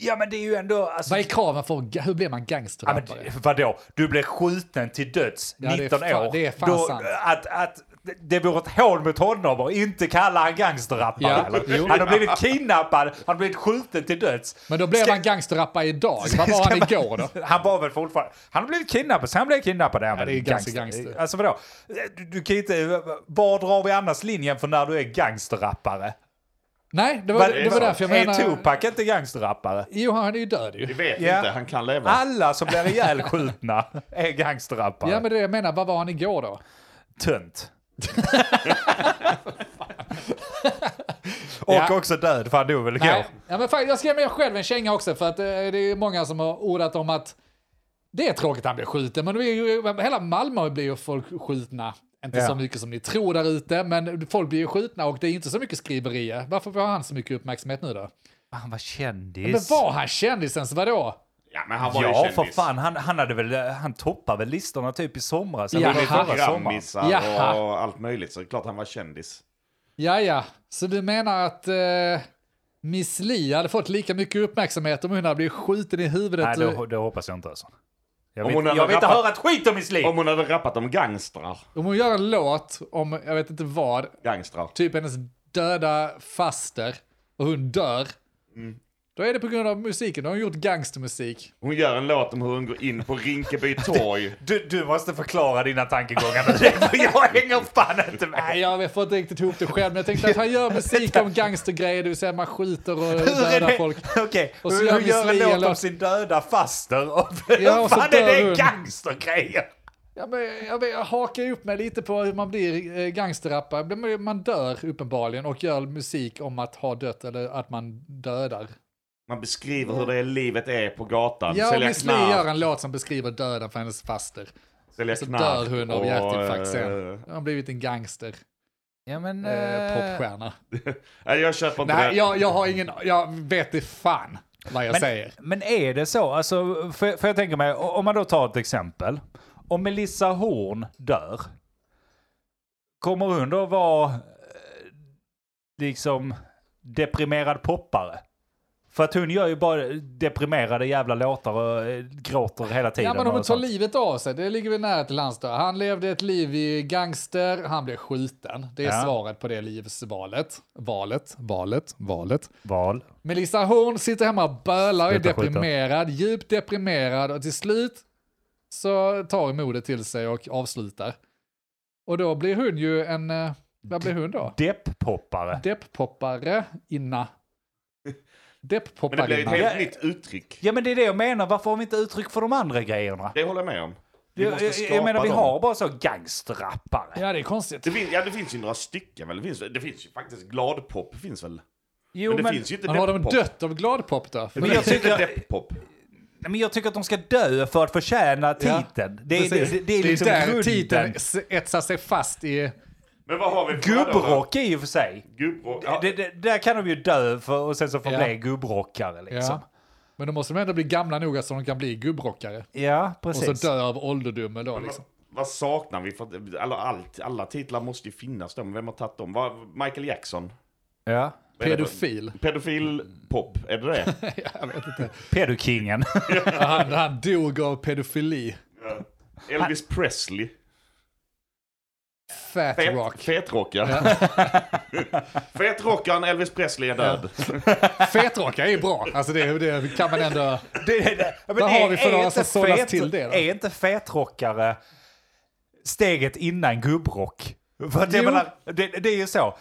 [SPEAKER 1] Ja men det är ju ändå... Alltså,
[SPEAKER 4] Vad är kraven för ga- hur blir man
[SPEAKER 1] Ja, men,
[SPEAKER 4] gangsterrappare?
[SPEAKER 1] vadå? Du blev skjuten till döds
[SPEAKER 4] Ja, det är
[SPEAKER 1] 19
[SPEAKER 4] fan-
[SPEAKER 1] år.
[SPEAKER 4] det är fan
[SPEAKER 1] Då-
[SPEAKER 4] sant.
[SPEAKER 1] Att, att det vore ett hån mot honom att inte kalla han gangsterrappare.
[SPEAKER 4] Ja,
[SPEAKER 1] eller?
[SPEAKER 4] jo.
[SPEAKER 1] Han har blivit kidnappad, han har blivit skjuten till döds.
[SPEAKER 4] Men då blev
[SPEAKER 1] Ska-
[SPEAKER 4] han gangsterrappare idag. Vad var
[SPEAKER 1] Ska
[SPEAKER 4] han
[SPEAKER 1] man-
[SPEAKER 4] igår då?
[SPEAKER 1] Han var väl fortfarande... Han har blivit kidnappad, sen han blev kidnappad. är han
[SPEAKER 4] Ja,
[SPEAKER 1] väl
[SPEAKER 4] det är ganska gangster.
[SPEAKER 1] Alltså vadå? Du, du kan ju inte... Var drar vi annars linjen för när du är gangsterrappare?
[SPEAKER 4] Nej, det var, det var därför jag
[SPEAKER 1] är
[SPEAKER 4] menar...
[SPEAKER 1] Tupac inte gangsterrappare?
[SPEAKER 4] Jo, han är ju död ju.
[SPEAKER 5] Vi vet
[SPEAKER 1] Ja.
[SPEAKER 5] inte, han kan leva.
[SPEAKER 1] Alla som blir ihjälskjutna är gangsterrappare.
[SPEAKER 4] Ja, men det är det jag menar. Vad var han igår då?
[SPEAKER 1] Tönt. Och
[SPEAKER 4] Ja.
[SPEAKER 1] också död, för han dog väl igår.
[SPEAKER 4] Nej. Ja, men faktiskt, jag skrev mig själv en känga också, för att eh, det är många som har ordat om att det är tråkigt att han blir skjuten, men det är ju, hela Malmö blir ju folk skjutna. Inte
[SPEAKER 1] Ja.
[SPEAKER 4] så mycket som ni tror där ute, men folk blir ju skjutna och det är inte så mycket skriverier. Varför har han så mycket uppmärksamhet nu då?
[SPEAKER 1] Han var
[SPEAKER 4] Men
[SPEAKER 1] kändis.
[SPEAKER 4] var han kändisen, så vadå?
[SPEAKER 5] Ja, men han var ju
[SPEAKER 1] Ja,
[SPEAKER 5] kändis.
[SPEAKER 1] för fan. Han, han, hade väl, han toppade väl listorna typ i somras.
[SPEAKER 4] Ja,
[SPEAKER 1] Eller
[SPEAKER 5] Det
[SPEAKER 1] ja,
[SPEAKER 5] är
[SPEAKER 1] förra sommaren.
[SPEAKER 5] Grammisar
[SPEAKER 4] Jaha.
[SPEAKER 5] och allt möjligt, så det är klart han var kändis.
[SPEAKER 4] Ja, ja. Så du menar att eh, Miss Li hade fått lika mycket uppmärksamhet om hon hade blivit skjuten i huvudet?
[SPEAKER 1] Nej, det, det hoppas jag inte alltså. Jag
[SPEAKER 5] Om
[SPEAKER 1] vill,
[SPEAKER 5] hon hade
[SPEAKER 1] jag vill inte
[SPEAKER 5] rappat-
[SPEAKER 1] höra ett skit om mitt liv!
[SPEAKER 5] Om hon hade rappat om gangstrar.
[SPEAKER 4] Om hon gör en låt om, jag vet inte vad,
[SPEAKER 5] Gangstrar.
[SPEAKER 4] typ hennes döda faster och hon dör.
[SPEAKER 1] Mm.
[SPEAKER 4] Då är det på grund av musiken. Då har hon gjort gangstermusik.
[SPEAKER 5] Hon gör en låt om hur hon går in på Rinkeby torg.
[SPEAKER 1] Du, du måste förklara dina tankegångar nu, för jag hänger fan inte med.
[SPEAKER 4] Nej, jag får inte riktigt ihop det själv, men jag tänkte att han gör musik om gangstergrejer, det vill säga man skjuter och dödar folk.
[SPEAKER 1] Okej,
[SPEAKER 4] Och
[SPEAKER 1] och
[SPEAKER 4] så
[SPEAKER 1] hur,
[SPEAKER 4] gör
[SPEAKER 1] hur
[SPEAKER 4] Miss
[SPEAKER 1] gör en
[SPEAKER 4] Li en
[SPEAKER 1] låt om
[SPEAKER 4] låt.
[SPEAKER 1] sin döda faster? Och,
[SPEAKER 4] Ja,
[SPEAKER 1] hur
[SPEAKER 4] och så
[SPEAKER 1] fan är
[SPEAKER 4] dör
[SPEAKER 1] det
[SPEAKER 4] hon.
[SPEAKER 1] gangstergrejer?
[SPEAKER 4] Ja, men, jag, jag hakar ju upp mig lite på hur man blir eh, gangsterrappare. Blir man- Man dör uppenbarligen och gör musik om att ha dött eller att man dödar.
[SPEAKER 5] Man beskriver hur det är livet är på gatan.
[SPEAKER 4] Ja,
[SPEAKER 5] sälja
[SPEAKER 4] Miss Li gör
[SPEAKER 5] knark,
[SPEAKER 4] en låt som beskriver döden för hennes faster.
[SPEAKER 5] sälja
[SPEAKER 4] Så
[SPEAKER 5] knark.
[SPEAKER 4] dör hon av
[SPEAKER 5] och,
[SPEAKER 4] hjärtinfarkt sen.
[SPEAKER 5] eh,
[SPEAKER 4] Hon har blivit en gangster.
[SPEAKER 1] Ja, men...
[SPEAKER 4] Eh, popstjärna.
[SPEAKER 5] Nej, jag köper inte
[SPEAKER 4] Nej,
[SPEAKER 5] det.
[SPEAKER 4] jag, jag har ingen, jag vet inte fan vad jag säger.
[SPEAKER 1] Men är det så? Alltså, för, för jag tänker mig, o- om man då tar ett exempel. Om Melissa Horn dör, kommer hon då vara eh, liksom deprimerad poppare? För att hon gör ju bara deprimerade jävla låtar och eh, gråter hela tiden.
[SPEAKER 4] Ja, men om hon
[SPEAKER 1] och
[SPEAKER 4] tar
[SPEAKER 1] sånt.
[SPEAKER 4] livet av sig, det ligger väl nära till lands då. Han levde ett liv i gangster, han blev skjuten. Det är
[SPEAKER 1] Ja.
[SPEAKER 4] svaret på det livsvalet. Valet, valet, valet.
[SPEAKER 1] Val.
[SPEAKER 4] Melissa Horn sitter hemma och bölar och är
[SPEAKER 1] Sluta skjuta.
[SPEAKER 4] deprimerad, djupt deprimerad och till slut så tar hon modet till sig och avslutar. Och då blir hon ju en, eh, vad blir hon då?
[SPEAKER 1] Depp-poppare.
[SPEAKER 4] Depp-poppare inna.
[SPEAKER 5] Men det blir ett
[SPEAKER 4] Depp-poppare
[SPEAKER 5] helt nytt uttryck.
[SPEAKER 1] Ja men det är det jag menar, varför har vi inte uttryck för de andra grejerna?
[SPEAKER 5] Det håller jag med om. Vi
[SPEAKER 1] Jag,
[SPEAKER 5] måste
[SPEAKER 1] jag,
[SPEAKER 5] skapa
[SPEAKER 1] jag menar vi
[SPEAKER 5] dem.
[SPEAKER 1] har bara så gangsterrappare.
[SPEAKER 4] Ja, det är konstigt.
[SPEAKER 5] Det finns, ja, det finns ju några stycken väl? Det finns, det finns ju faktiskt gladpop. finns väl?
[SPEAKER 1] Jo,
[SPEAKER 5] Men det
[SPEAKER 1] men,
[SPEAKER 5] finns ju inte
[SPEAKER 4] Men har de
[SPEAKER 5] depp-pop.
[SPEAKER 4] dött av gladpop då? För
[SPEAKER 5] Det
[SPEAKER 1] Men
[SPEAKER 5] finns
[SPEAKER 1] jag
[SPEAKER 5] ju inte
[SPEAKER 1] tycker-
[SPEAKER 5] depp-pop.
[SPEAKER 1] Nej, men jag tycker att de ska dö för att förtjäna
[SPEAKER 4] Ja,
[SPEAKER 1] titeln. det, är, det,
[SPEAKER 4] precis.
[SPEAKER 1] det, det är liksom
[SPEAKER 4] där
[SPEAKER 1] grunden.
[SPEAKER 4] titeln s- etsar sig fast i...
[SPEAKER 5] Men vad har vi för
[SPEAKER 1] Gubbrock är ju för sig.
[SPEAKER 5] Gubbrock. Ja,
[SPEAKER 1] Det, det, där kan de ju dö för, och sen så få
[SPEAKER 4] Ja.
[SPEAKER 1] bli gubbrockare liksom.
[SPEAKER 4] Ja. Men då måste de ändå bli gamla nog att så de kan bli gubbrockare.
[SPEAKER 1] Ja,
[SPEAKER 4] Och
[SPEAKER 1] precis.
[SPEAKER 4] så dö av ålderdomen då liksom.
[SPEAKER 5] Vad saknar vi? För att, alla, allt, alla titlar måste ju finnas där, men vem har tagit dem? Vad, Michael Jackson?
[SPEAKER 1] ja.
[SPEAKER 5] Vad är det för-
[SPEAKER 4] Pedofil.
[SPEAKER 5] Pedofil pop, är det det?
[SPEAKER 4] Jag vet inte.
[SPEAKER 1] Pedokingen.
[SPEAKER 4] Han, han dog av pedofili.
[SPEAKER 5] Elvis Presley?
[SPEAKER 4] Fat
[SPEAKER 5] Fet,
[SPEAKER 4] rock.
[SPEAKER 5] fetrock, ja. Fetrockaren Elvis Presley är död.
[SPEAKER 4] Fetrock är ju bra. Alltså det, det kan man ändå...
[SPEAKER 1] det, det, det. Men
[SPEAKER 4] Vad
[SPEAKER 1] är-
[SPEAKER 4] har vi för
[SPEAKER 1] är
[SPEAKER 4] några
[SPEAKER 1] inte
[SPEAKER 4] som sållas
[SPEAKER 1] fet-
[SPEAKER 4] till det då?
[SPEAKER 1] Är inte fetrockare steget innan gubbrock? För att jag
[SPEAKER 4] Jo.
[SPEAKER 1] menar, det, det är ju så.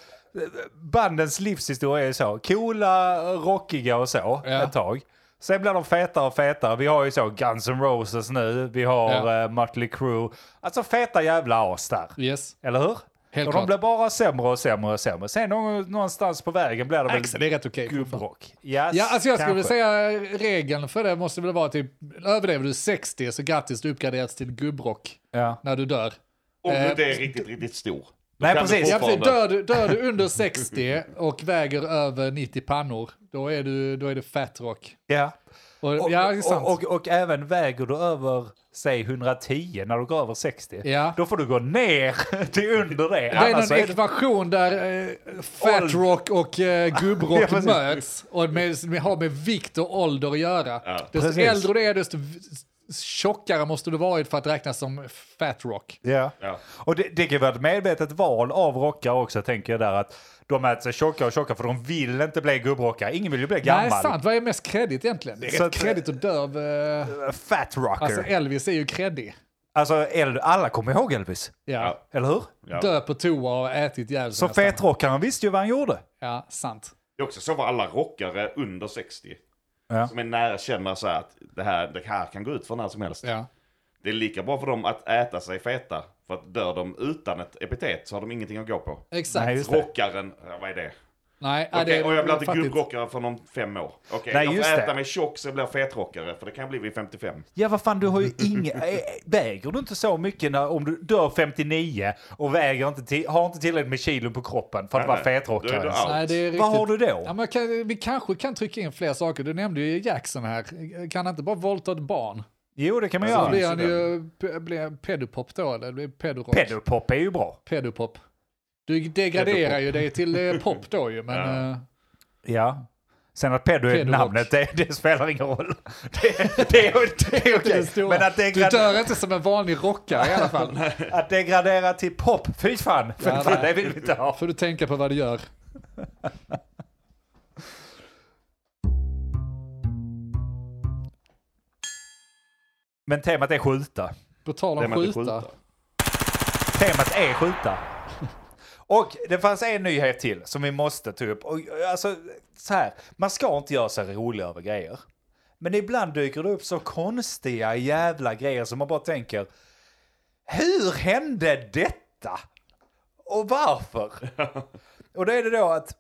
[SPEAKER 1] Bandens livshistoria är ju så. Coola, rockiga och så
[SPEAKER 4] Ja.
[SPEAKER 1] ett tag. Sen blir de fetare och fetare. Vi har ju så Guns N' Roses nu. Vi har
[SPEAKER 4] Ja.
[SPEAKER 1] eh, Mötley Crüe. Alltså feta jävla as där.
[SPEAKER 4] Yes.
[SPEAKER 1] Eller hur?
[SPEAKER 4] Helt
[SPEAKER 1] och
[SPEAKER 4] klart.
[SPEAKER 1] de blir bara sämre och sämre och sämre. Sen någon, någonstans på vägen blir det väl
[SPEAKER 4] Axel, det är rätt okej.
[SPEAKER 1] gubbrock. Yes,
[SPEAKER 4] Ja, alltså jag skulle
[SPEAKER 1] kanske.
[SPEAKER 4] vilja säga regeln för det måste väl vara typ överlever du 60 så grattis du uppgraderas till gubbrock
[SPEAKER 1] Ja.
[SPEAKER 4] när du dör.
[SPEAKER 5] Om
[SPEAKER 4] Eh,
[SPEAKER 5] det är riktigt, riktigt stor. Då
[SPEAKER 1] Nej,
[SPEAKER 5] kan du
[SPEAKER 1] precis.
[SPEAKER 4] Ja,
[SPEAKER 1] Jag
[SPEAKER 5] fortfarande-
[SPEAKER 4] precis. Dör, du, dör du under 60 och väger över 90 pannor, då är, du, då är det fat rock.
[SPEAKER 1] Ja.
[SPEAKER 4] Och,
[SPEAKER 1] Och,
[SPEAKER 4] ja, det är sant.
[SPEAKER 1] och, och, och även väger du över, säg 110 när du går över 60,
[SPEAKER 4] Ja.
[SPEAKER 1] då får du gå ner till under det.
[SPEAKER 4] det är
[SPEAKER 1] annars så
[SPEAKER 4] någon
[SPEAKER 1] alltså, är det...
[SPEAKER 4] ekvation där eh, fat
[SPEAKER 1] Ålder.
[SPEAKER 4] rock och eh, gubbrock
[SPEAKER 1] Ja, precis.
[SPEAKER 4] möts och med, med, har med vikt och ålder att göra. desto
[SPEAKER 1] precis.
[SPEAKER 4] äldre du är, desto v- tjockare måste du varit för att räknas som fat rock.
[SPEAKER 1] Ja.
[SPEAKER 5] Ja.
[SPEAKER 1] Och det, det kan vara ett medvetet val av rockare också, tänker jag där. att De äter sig tjockare och tjockare för de vill inte bli gubbrockare. Ingen vill ju bli gammal.
[SPEAKER 4] Nej, sant. Vad är mest kredit egentligen? Det är
[SPEAKER 1] Så
[SPEAKER 4] rätt
[SPEAKER 1] att-
[SPEAKER 4] kredit att dö av... Eh,
[SPEAKER 1] Fat rocker.
[SPEAKER 4] alltså
[SPEAKER 1] Alltså,
[SPEAKER 4] Elvis är ju kreddig.
[SPEAKER 1] El- alla kommer ihåg Elvis,
[SPEAKER 4] Ja.
[SPEAKER 1] eller hur?
[SPEAKER 5] Ja.
[SPEAKER 4] Dö på toa och ätit ihjäl sig
[SPEAKER 1] Så
[SPEAKER 4] nästan.
[SPEAKER 1] fetrockaren visste ju vad han gjorde.
[SPEAKER 4] Ja, sant.
[SPEAKER 5] Det är också så vad alla rockare under 60,
[SPEAKER 1] Ja.
[SPEAKER 5] som är nära, känner så här att det här, det här kan gå ut för när som helst.
[SPEAKER 4] Ja.
[SPEAKER 5] Det är lika bra för dem att äta sig feta, för att dör de utan ett epitet så har de ingenting att gå på.
[SPEAKER 4] Exakt.
[SPEAKER 1] Nej, just det.
[SPEAKER 5] Rockaren, ja, vad är det?
[SPEAKER 4] Nej, ja,
[SPEAKER 5] Okej,
[SPEAKER 4] det är
[SPEAKER 5] och jag blir inte
[SPEAKER 4] fattigt.
[SPEAKER 5] gubbrockare för om fem år. Okej,
[SPEAKER 1] Nej,
[SPEAKER 5] jag
[SPEAKER 1] just
[SPEAKER 5] får äta
[SPEAKER 1] det.
[SPEAKER 5] mig tjock så jag blir fetrockare, för det kan jag bli vid 55.
[SPEAKER 1] Ja vad fan du har ju ingen... Äh, väger du inte så mycket när, om du dör 59 och väger inte till, har inte tillräckligt med kilo på kroppen för att
[SPEAKER 5] Nej,
[SPEAKER 1] vara
[SPEAKER 5] nej. Då är
[SPEAKER 1] fetrockare?
[SPEAKER 5] du
[SPEAKER 1] ens?
[SPEAKER 5] out.
[SPEAKER 4] Nej, det är riktigt.
[SPEAKER 1] Vad har du då?
[SPEAKER 4] Ja, men jag kan, vi kanske kan trycka in fler saker. Du nämnde ju Jackson här. Kan han inte bara våldta ett barn?
[SPEAKER 1] Jo det kan man
[SPEAKER 5] Alltså,
[SPEAKER 4] Då
[SPEAKER 1] göra.
[SPEAKER 5] det-
[SPEAKER 4] blir han ju p- blir pedopop då, eller? Det blir pedorock.
[SPEAKER 1] Pedopop är ju bra.
[SPEAKER 4] pedopop. Du degraderar ju dig till eh, pop då ju, men...
[SPEAKER 5] Ja.
[SPEAKER 4] eh,
[SPEAKER 1] Ja. Sen att pedo är
[SPEAKER 4] Pedorock.
[SPEAKER 1] namnet, det, det spelar ingen roll. Det, det, är- det är
[SPEAKER 4] det
[SPEAKER 1] okej.
[SPEAKER 4] stora.
[SPEAKER 1] Men att
[SPEAKER 4] Du
[SPEAKER 1] degradera,
[SPEAKER 4] dör inte som en vanlig rockare i alla fall.
[SPEAKER 1] att degradera till pop, fy fan. Fy
[SPEAKER 4] Ja,
[SPEAKER 1] fan
[SPEAKER 4] nej.
[SPEAKER 1] det vill vi inte ha.
[SPEAKER 4] Får du tänka på vad du gör.
[SPEAKER 1] Men temat är skjuta.
[SPEAKER 4] På tal om
[SPEAKER 5] Temat är
[SPEAKER 4] skjuta.
[SPEAKER 5] skjuta.
[SPEAKER 1] Temat är skjuta. Och det fanns en nyhet till som vi måste ta upp. Och, alltså, så här, man ska inte göra sig rolig över grejer. Men ibland dyker det upp så konstiga jävla grejer som man bara tänker, hur hände detta? Och varför? Och det är det då att,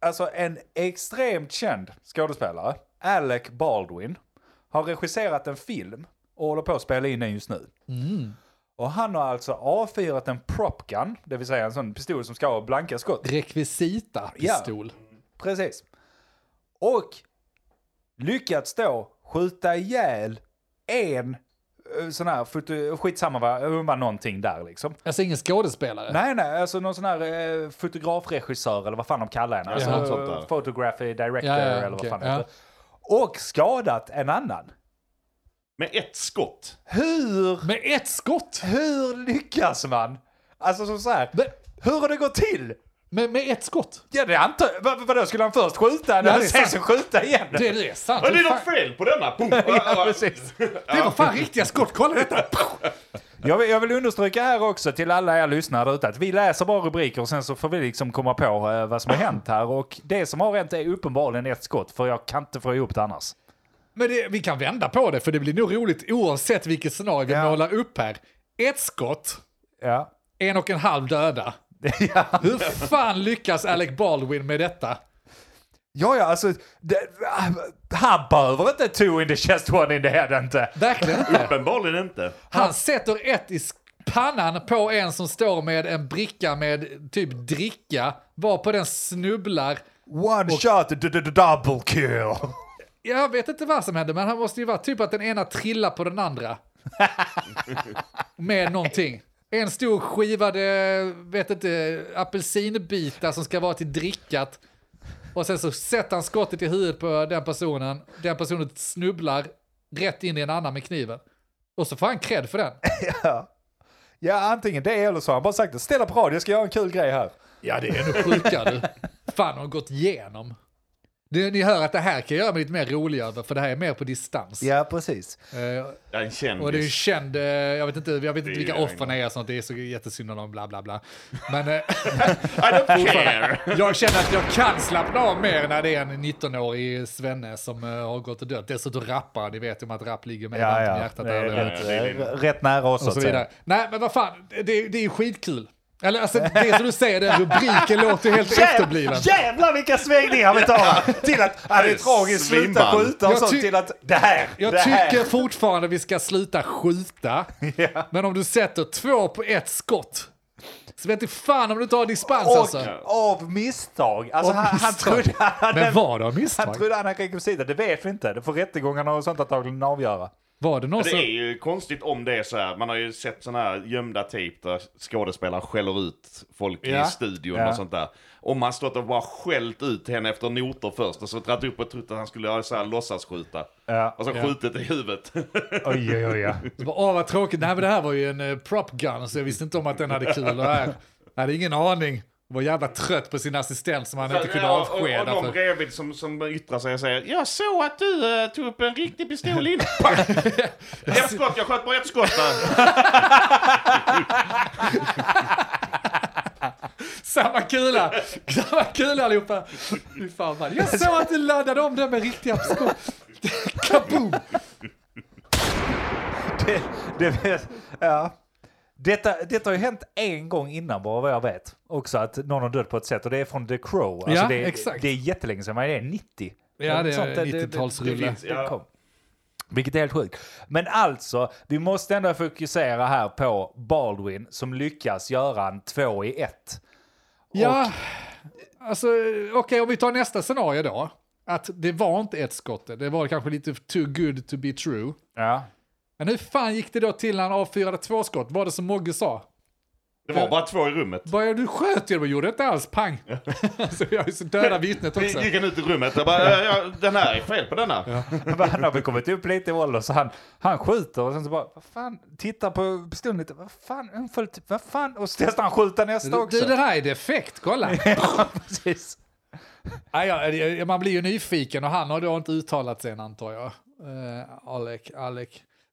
[SPEAKER 1] alltså en extremt känd skådespelare, Alec Baldwin, har regisserat en film och håller på att spela in den just nu. Och han har alltså avfyrat en prop gun, det vill säga en sån pistol som ska ha blanka skott.
[SPEAKER 4] Rekvisita pistol.
[SPEAKER 1] Precis. Och lyckats då skjuta ihjäl en eh, sån här, foto- skitsamma vad- hon var någonting där liksom.
[SPEAKER 4] Alltså ingen skådespelare.
[SPEAKER 1] Nej, nej, alltså någon sån här eh, fotografregissör eller vad fan de kallar henne. Alltså,
[SPEAKER 4] Ja,
[SPEAKER 5] något sånt där.
[SPEAKER 1] eh, Photography director
[SPEAKER 4] Ja, ja,
[SPEAKER 1] eller vad
[SPEAKER 4] okej,
[SPEAKER 1] fan det
[SPEAKER 4] ja.
[SPEAKER 1] heter. Och skadat en annan.
[SPEAKER 5] Med ett skott.
[SPEAKER 1] Hur,
[SPEAKER 4] Med ett skott!
[SPEAKER 1] hur lyckas man? Alltså som så här,
[SPEAKER 4] Men-
[SPEAKER 1] hur har det gått till?
[SPEAKER 4] Med, med ett skott!
[SPEAKER 1] Ja, det antar jag. Vad- Vadå, skulle han först skjuta henne
[SPEAKER 4] Ja,
[SPEAKER 1] och
[SPEAKER 4] det är
[SPEAKER 1] sen
[SPEAKER 4] sant.
[SPEAKER 1] så skjuta igen?
[SPEAKER 4] Det är sant.
[SPEAKER 5] Ja, det är
[SPEAKER 4] Fan-
[SPEAKER 5] något fel på denna! Boom.
[SPEAKER 1] Ja, precis.
[SPEAKER 4] det var fan riktiga skott, kolla detta!
[SPEAKER 1] Jag vill, jag vill understryka här också till alla er lyssnare där ute att vi läser bara rubriker och sen så får vi liksom komma på eh, vad som har hänt här. Och det som har hänt är uppenbarligen ett skott, för jag kan inte få ihop det annars.
[SPEAKER 4] Men det, vi kan vända på det, för det blir nog roligt oavsett vilket scenario vi
[SPEAKER 1] Ja.
[SPEAKER 4] målar upp här. Ett skott,
[SPEAKER 1] Ja.
[SPEAKER 4] en och en halv döda. Hur fan lyckas Alec Baldwin med detta?
[SPEAKER 1] Ja, ja, alltså. Det, han behöver inte two in the chest, one in the head inte.
[SPEAKER 4] Verkligen inte.
[SPEAKER 5] Uppenbarligen inte.
[SPEAKER 4] Han sätter ett i sk- pannan på en som står med en bricka med typ dricka, varpå den snubblar.
[SPEAKER 1] One shot, d- d- d- double kill.
[SPEAKER 4] Jag vet inte vad som hände, men han måste ju vara typ att den ena trillar på den andra. med någonting. En stor skivad, eh, vet inte, apelsinbitar som ska vara till drickat. Och sen så sätter han skottet i huvudet på den personen. Den personen snubblar rätt in i en annan med kniven. Och så får han cred för den.
[SPEAKER 1] Ja, antingen det eller så har han bara sagt det. Ställa på radio, jag ska göra en kul grej här.
[SPEAKER 4] Ja, det är nog sjuka du. Fan, har gått igenom. Du, ni hör att det här kan jag göra mig lite mer rolig över, för det här är mer på distans.
[SPEAKER 1] Ja, precis.
[SPEAKER 4] Eh,
[SPEAKER 5] Jag är en
[SPEAKER 4] och det är ju
[SPEAKER 5] kändis.
[SPEAKER 4] känd, eh, jag vet inte, jag vet inte
[SPEAKER 5] är
[SPEAKER 4] vilka
[SPEAKER 5] ju
[SPEAKER 4] offren är och sånt, det är så jättesynd om dem, bla bla bla. Men eh,
[SPEAKER 5] I don't care!
[SPEAKER 4] jag känner att jag kan slappna av mer när det är en 19-årig svenne som eh, har gått och dött. Dessutom rappar, ni vet ju om att rapp ligger mig
[SPEAKER 1] Ja,
[SPEAKER 4] varmt om
[SPEAKER 1] ja.
[SPEAKER 4] hjärtat.
[SPEAKER 1] Det är
[SPEAKER 4] där.
[SPEAKER 1] rätt,
[SPEAKER 5] det är
[SPEAKER 1] eh, rätt nära oss,
[SPEAKER 4] och så vidare. Nej, men vad fan, det, det är ju skitkul. Eller alltså, det som du säger, den rubriken låter ju helt efterbliven.
[SPEAKER 1] Jävlar vilka svängningar vi tar! här. Till att ja, det är tragiskt, sluta
[SPEAKER 5] Svinband.
[SPEAKER 1] skjuta och
[SPEAKER 4] Jag
[SPEAKER 1] sånt
[SPEAKER 4] ty-
[SPEAKER 1] till att det här,
[SPEAKER 4] Jag
[SPEAKER 1] det här.
[SPEAKER 4] tycker fortfarande vi ska sluta skjuta. Men om du sätter två på ett skott. Så vet du fan om du tar dispens
[SPEAKER 1] Och
[SPEAKER 4] alltså.
[SPEAKER 1] av misstag. Alltså
[SPEAKER 4] Av
[SPEAKER 1] han, han
[SPEAKER 4] misstag.
[SPEAKER 1] trodde han
[SPEAKER 4] Men
[SPEAKER 1] hade...
[SPEAKER 4] var det av
[SPEAKER 1] Han
[SPEAKER 4] misstag?
[SPEAKER 1] trodde han hade rekvisita, det vet vi inte. Det får rättegångarna och sånt antagligen avgöra.
[SPEAKER 4] Var det någon
[SPEAKER 5] Det är
[SPEAKER 4] som...
[SPEAKER 5] ju konstigt om det är så här. Man har ju sett såna här gömda tejp där skådespelare skäller ut folk
[SPEAKER 4] Ja.
[SPEAKER 5] i studion
[SPEAKER 1] Ja.
[SPEAKER 5] och sånt där. Om man stått och bara skällt ut henne efter noter först och så dragit upp och trott att han skulle göra så här låtsasskjuta.
[SPEAKER 1] Ja.
[SPEAKER 5] Och så skjutit i huvudet.
[SPEAKER 1] Oj, oj, oj. Ja.
[SPEAKER 4] Så bara, Åh vad tråkigt, nej men det här var ju en eh, prop gun så jag visste inte om att den hade kul. Och det här. Jag hade ingen aning. Var jävla trött på sin assistent som han inte kunde
[SPEAKER 5] Ja, och, och
[SPEAKER 4] avskeda.
[SPEAKER 5] de
[SPEAKER 4] För.
[SPEAKER 5] bredvid som, som yttrar sig och säger Jag såg att du eh, tog upp en riktig pistol innan. Pack! ett skott, jag sköt bara ett skott där.
[SPEAKER 4] Samma kula! Samma kula allihopa! Fy fan, vad- jag såg att du laddade om den med riktiga skott. Kaboom!
[SPEAKER 1] Det, det, ja. Detta, detta har ju hänt en gång innan bara vad jag vet. Också att någon har dött på ett sätt och det är från The Crow. Alltså
[SPEAKER 4] Ja,
[SPEAKER 1] det, är-
[SPEAKER 4] exakt.
[SPEAKER 1] det är jättelänge sedan, vad är det? 90?
[SPEAKER 4] Ja, det är
[SPEAKER 1] Sånt,
[SPEAKER 4] 90-talsrulle.
[SPEAKER 1] det finns-
[SPEAKER 5] Ja.
[SPEAKER 1] det kom. Vilket är helt sjukt. Men alltså, vi måste ändå fokusera här på Baldwin som lyckas göra en två i ett.
[SPEAKER 4] Ja, alltså okej om vi tar nästa scenario då. Att det var inte ett skott, det var kanske lite too good to be true.
[SPEAKER 1] Ja.
[SPEAKER 4] Men hur fan gick det då till när han avfyrade två skott? Var det som Mogge sa?
[SPEAKER 5] Det var bara två i rummet.
[SPEAKER 4] Bara du sköt ju, men gjorde inte alls pang. alltså vi har ju så döda vittnet också.
[SPEAKER 5] Vi gick han ut i rummet och bara, "Ja, ja, den här är fel på denna.
[SPEAKER 1] Men han har väl kommit upp lite i ålder så han, han skjuter och sen så bara, vad fan, tittar på pistolen lite, vad fan, en full typ, vad fan, och så testar han skjuta nästa
[SPEAKER 4] Du,
[SPEAKER 1] också.
[SPEAKER 4] du, det här är defekt, kolla.
[SPEAKER 1] Ja, precis.
[SPEAKER 4] Nej, ja, det- man blir ju nyfiken och han har då inte uttalat sig än antar jag. Uh, Alec, Alec.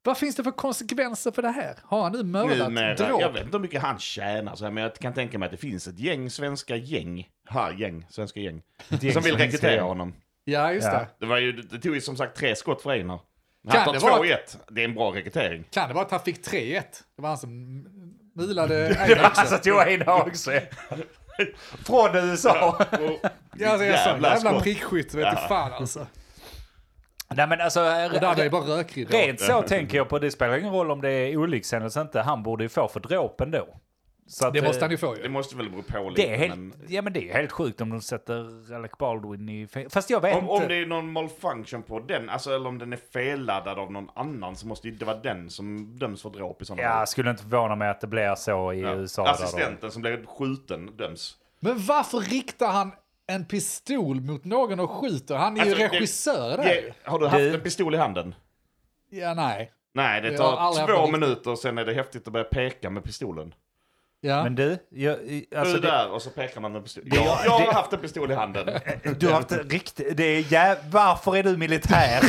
[SPEAKER 4] Vad finns det för konsekvenser för det här? Har han nu mördat
[SPEAKER 5] Numera,
[SPEAKER 4] dråp?
[SPEAKER 5] jag vet inte hur mycket han tjänar, så här, men jag kan tänka mig att det finns ett gäng svenska gäng, ha, gäng, svenska gäng,
[SPEAKER 1] gäng
[SPEAKER 5] som vill
[SPEAKER 1] svenska
[SPEAKER 5] rekrytera
[SPEAKER 1] gäng.
[SPEAKER 5] honom.
[SPEAKER 4] Ja, just
[SPEAKER 1] Ja.
[SPEAKER 4] det.
[SPEAKER 5] Det, var ju, det tog ju som sagt tre skott för Einar.
[SPEAKER 4] Kan
[SPEAKER 5] Han tar
[SPEAKER 4] det
[SPEAKER 5] två
[SPEAKER 4] vara-
[SPEAKER 5] i ett. Det är en bra rekrytering.
[SPEAKER 4] Kan det vara att han fick 3-1? Det var han som mulade Einar också.
[SPEAKER 1] Alltså tog en också. Från USA.
[SPEAKER 5] Och,
[SPEAKER 4] Ja, alltså, jag sa,
[SPEAKER 5] jävla
[SPEAKER 4] jävla
[SPEAKER 5] skott.
[SPEAKER 4] prickskytt, vet inte fan alltså.
[SPEAKER 1] Nej men alltså,
[SPEAKER 4] Det där är ju bara rökridå.
[SPEAKER 1] rent så tänker jag på, det spelar ingen roll om det är olyckshändelse eller inte, han borde ju få för dråpen då. Så att,
[SPEAKER 4] Det måste
[SPEAKER 1] eh,
[SPEAKER 4] han ju få
[SPEAKER 5] Det
[SPEAKER 4] ju.
[SPEAKER 5] måste väl bero på lite.
[SPEAKER 1] det är helt,
[SPEAKER 5] men,
[SPEAKER 1] ja, men det är helt sjukt om de sätter Alec Baldwin i fäng- Fast jag vet
[SPEAKER 5] om,
[SPEAKER 1] inte.
[SPEAKER 5] om det är någon malfunction på den, alltså, eller om den är felladdad av någon annan så måste ju det vara den som döms för dråp i sådana
[SPEAKER 1] Ja, skulle inte förvåna mig att det blir så i
[SPEAKER 5] Ja.
[SPEAKER 1] USA. där då.
[SPEAKER 5] Assistenten som blev skjuten döms.
[SPEAKER 4] Men varför riktar han en pistol mot någon och skjuter? Han är ju
[SPEAKER 5] Alltså, det-
[SPEAKER 4] regissör där. ju.
[SPEAKER 5] Ge- Har du haft
[SPEAKER 1] Du-
[SPEAKER 5] en pistol i handen?
[SPEAKER 4] Ja, nej.
[SPEAKER 5] Nej, det
[SPEAKER 4] Jag
[SPEAKER 5] tar
[SPEAKER 4] har aldrig haft
[SPEAKER 5] två
[SPEAKER 4] en riktig-
[SPEAKER 5] minuter, sen är det häftigt att börja peka med pistolen.
[SPEAKER 4] Ja.
[SPEAKER 1] Men du, jag, i- alltså,
[SPEAKER 5] du
[SPEAKER 1] det,
[SPEAKER 5] där, och så pekar man med pistolen. Jag, jag har haft en pistol i handen.
[SPEAKER 1] du har haft riktigt... Det är jä- varför är du militär?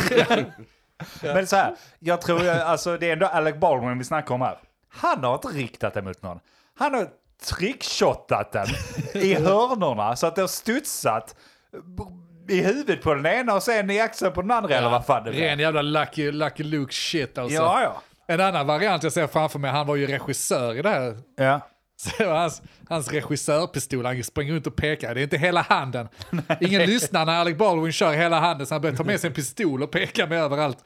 [SPEAKER 1] Men så här, jag tror jag, alltså det är ändå Alec Baldwin vi snackar om här. Han har inte riktat den mot någon. Han har trickshotat den i hörnorna så att det har studsat b- i huvudet på den ena och sen i axeln på den andra eller vad fan det
[SPEAKER 4] Ren
[SPEAKER 1] var.
[SPEAKER 4] jävla Lucky, lucky Luke shit alltså.
[SPEAKER 1] Ja, ja.
[SPEAKER 4] En annan variant jag ser framför mig, han var ju regissör i det här.
[SPEAKER 1] Ja.
[SPEAKER 4] Så det var hans, hans regissörpistol, han springer runt och pekar. Det är inte hela handen. Ingen lyssnar när Alec Baldwin kör hela handen, så han börjar ta med sig en pistol och peka med överallt.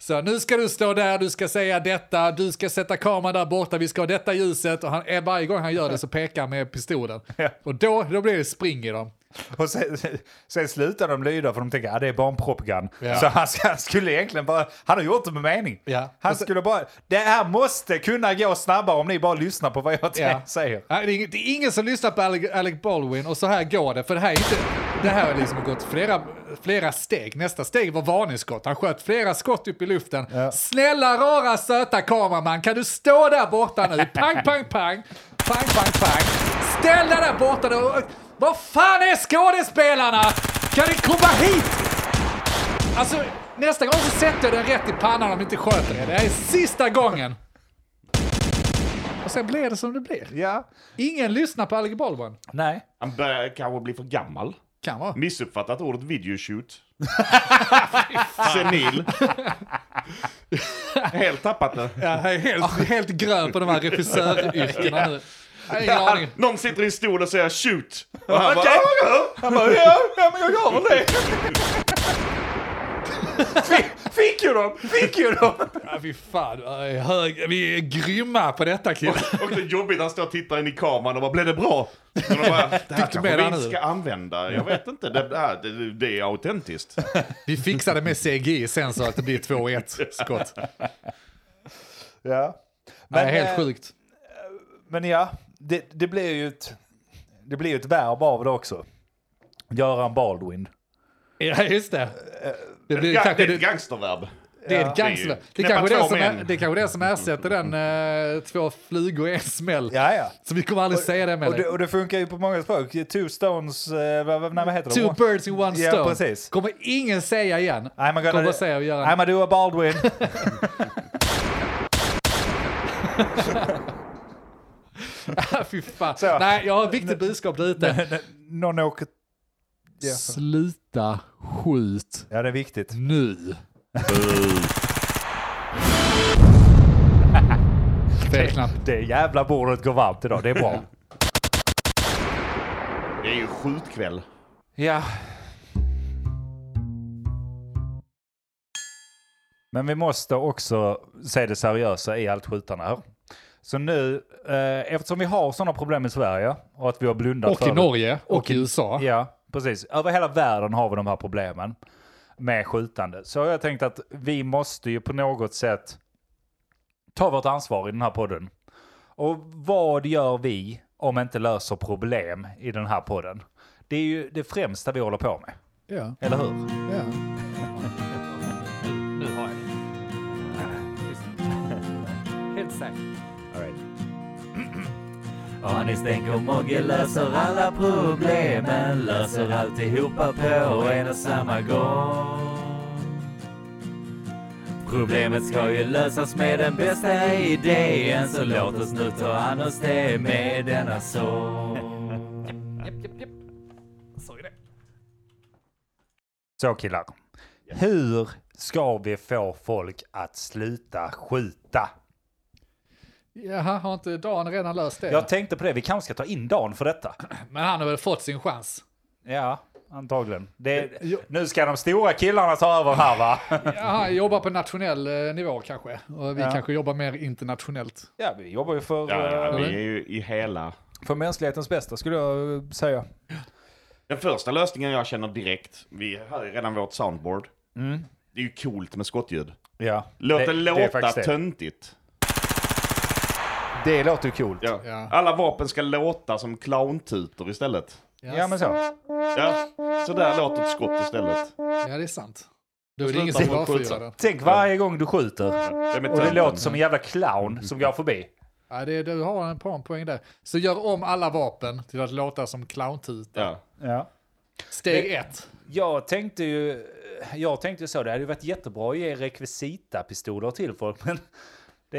[SPEAKER 4] Så nu ska du stå där, du ska säga detta, du ska sätta kameran där borta, vi ska ha detta ljuset. Och han, eh, varje gång han gör det så pekar han med pistolen. Och då, då blir det spring i dem.
[SPEAKER 1] Och sen, sen slutar de lyda för de tänker att ah, det är barnpropaganda.
[SPEAKER 4] Ja.
[SPEAKER 1] Så han, ska- han skulle egentligen bara, han har gjort det med mening.
[SPEAKER 4] Ja.
[SPEAKER 1] Han skulle bara, det här måste kunna gå snabbare om ni bara lyssnar på vad jag
[SPEAKER 4] Ja.
[SPEAKER 1] säger.
[SPEAKER 4] Nej, det, är ingen, det är ingen som lyssnar på Alec, Alec Baldwin och så här går det. För det här är inte... Det här har liksom gått flera, flera steg. Nästa steg var varningsskott. Han sköt flera skott upp i luften. Snälla rara söta kameraman, kan du stå där borta nu? Pang, pang, pang. Pang, pang, pang. Ställ dig där borta nu. och- Vad fan är skådespelarna? Kan ni komma hit? Alltså, nästa gång så sätter jag den rätt i pannan om ni inte sköter er. Det här är sista gången. Och sen blir det som det blir.
[SPEAKER 1] Ja.
[SPEAKER 4] Ingen lyssnar på Alec Baldwin.
[SPEAKER 1] Nej.
[SPEAKER 5] Han börjar kanske bli för gammal.
[SPEAKER 4] Kan vara.
[SPEAKER 5] Missuppfattat ordet videoshoot. Senil. Helt tappat det.
[SPEAKER 4] Ja, jag är helt, helt grön på de här regissöryrkena nu. Jag har ingen
[SPEAKER 5] Han,
[SPEAKER 4] aning.
[SPEAKER 5] någon sitter i en stol och säger shoot. Och han bara,
[SPEAKER 1] Okej.
[SPEAKER 5] han bara ja, ja, men jag gör väl det.
[SPEAKER 1] Fick, fick ju dem! Fick ju dem!
[SPEAKER 4] Ja, fy fan, jag är hög, vi är grymma på detta killar.
[SPEAKER 5] Och det är jobbigt, han står och tittar in i kameran och bara, blev det bra? Och de bara, det här
[SPEAKER 4] med
[SPEAKER 5] kanske
[SPEAKER 4] det
[SPEAKER 5] vi inte
[SPEAKER 4] nu?
[SPEAKER 5] ska använda, jag vet inte, det, det, här, det, det är autentiskt.
[SPEAKER 4] Vi fixade med CGI sen så att det blir 2-1 skott.
[SPEAKER 1] Ja.
[SPEAKER 4] Men,
[SPEAKER 1] Men,
[SPEAKER 4] helt
[SPEAKER 1] eh,
[SPEAKER 4] sjukt.
[SPEAKER 1] Men ja, det, det blir ju ett, det blir ju ett verb av det också. Göran Baldwin.
[SPEAKER 4] Ja, just det. Det, blir,
[SPEAKER 5] Ja, det
[SPEAKER 4] kanske,
[SPEAKER 5] är ett
[SPEAKER 4] det,
[SPEAKER 5] gangsterverb.
[SPEAKER 4] det är ett
[SPEAKER 5] det är ju-
[SPEAKER 4] gangster. Det,
[SPEAKER 5] knäppa
[SPEAKER 4] kanske är det,
[SPEAKER 5] två
[SPEAKER 4] som
[SPEAKER 5] män.
[SPEAKER 4] är, det kanske är det som ersätter den eh, två flugor i en smäll.
[SPEAKER 1] Ja, ja.
[SPEAKER 4] Så vi kommer aldrig säga det med
[SPEAKER 1] Och det, och det funkar ju på många språk. Two stones, eh, vad, vad, nej, vad heter
[SPEAKER 4] Two
[SPEAKER 1] det?
[SPEAKER 4] birds in one
[SPEAKER 1] Ja,
[SPEAKER 4] stone.
[SPEAKER 1] precis.
[SPEAKER 4] Kommer ingen säga igen.
[SPEAKER 1] I'm a
[SPEAKER 4] Kommer
[SPEAKER 1] gonna,
[SPEAKER 4] bara säga och göra en
[SPEAKER 1] I'm a do a Baldwin.
[SPEAKER 4] Fy fan.
[SPEAKER 1] Så.
[SPEAKER 4] Nej, jag har ett viktigt budskap där ute.
[SPEAKER 1] Någon åker... Ja.
[SPEAKER 4] Sluta skjut
[SPEAKER 1] ja, det är viktigt.
[SPEAKER 4] nu. Fel knapp.
[SPEAKER 1] Det jävla bordet går varmt idag, det är bra.
[SPEAKER 5] Det är ju skjutkväll.
[SPEAKER 1] ja. Men vi måste också se det seriösa i allt skjutande här. Så nu, eh, eftersom vi har sådana problem i Sverige och att vi har blundat
[SPEAKER 4] Och
[SPEAKER 1] för
[SPEAKER 4] i
[SPEAKER 1] det-
[SPEAKER 4] Norge och, i USA.
[SPEAKER 1] Ja, precis. Över hela världen har vi de här problemen med skjutande. Så jag tänkt att vi måste ju på något sätt ta vårt ansvar i den här podden. Och vad gör vi om inte löser problem i den här podden? Det är ju det främsta vi håller på med,
[SPEAKER 4] Ja,
[SPEAKER 1] eller hur?
[SPEAKER 4] ja.
[SPEAKER 6] Nu har jag det. Helt säkert.
[SPEAKER 3] Anis tänk och Mogge löser alla problemen Löser alltihopa på en och samma gång Problemet ska ju lösas med den bästa idén Så låt oss nu ta an oss det med denna sång
[SPEAKER 6] Japp, japp, japp. Så är det.
[SPEAKER 1] Så killar, hur ska vi få folk att sluta skjuta?
[SPEAKER 4] Jaha, har inte Dan redan löst det?
[SPEAKER 1] Jag tänkte på det, vi kanske ska ta in Dan för detta.
[SPEAKER 4] Men han har väl fått sin chans?
[SPEAKER 1] Ja, antagligen. Det,
[SPEAKER 4] Jo.
[SPEAKER 1] nu ska de stora killarna ta över här va?
[SPEAKER 4] Ja, han jobbar på nationell eh, nivå kanske. Och vi
[SPEAKER 1] Ja.
[SPEAKER 4] kanske jobbar mer internationellt.
[SPEAKER 1] Ja, vi jobbar ju för,
[SPEAKER 5] Ja, ja,
[SPEAKER 1] eh,
[SPEAKER 5] vi är ju i hela...
[SPEAKER 1] för mänsklighetens bästa skulle jag eh, säga.
[SPEAKER 5] Den första lösningen jag känner direkt, vi har ju redan vårt soundboard. Det är ju coolt med skottljud.
[SPEAKER 1] Ja,
[SPEAKER 5] Låt det,
[SPEAKER 1] är
[SPEAKER 5] låta
[SPEAKER 1] faktiskt det.
[SPEAKER 5] töntigt.
[SPEAKER 1] Det låter ju coolt.
[SPEAKER 5] Ja.
[SPEAKER 4] Ja.
[SPEAKER 5] Alla vapen ska låta som clowntutor istället.
[SPEAKER 1] Ja, men så.
[SPEAKER 5] Ja, så där låter ett skott istället.
[SPEAKER 4] Ja, det är sant. Då är det
[SPEAKER 5] Sluta
[SPEAKER 4] ingen som
[SPEAKER 5] på en
[SPEAKER 4] avfyrar
[SPEAKER 5] skjutsa.
[SPEAKER 4] den.
[SPEAKER 1] Tänk varje gång du skjuter
[SPEAKER 5] Vem är
[SPEAKER 1] och det
[SPEAKER 5] tönten?
[SPEAKER 1] låter som en jävla clown som går förbi.
[SPEAKER 4] Ja, det, du har en, på en poäng där. Så gör om alla vapen till att låta som clowntuta.
[SPEAKER 5] Ja.
[SPEAKER 1] Ja.
[SPEAKER 4] Steg ett.
[SPEAKER 1] Jag tänkte ju jag tänkte ju så, det hade ju varit jättebra att ge rekvisitapistoler till folk, men det,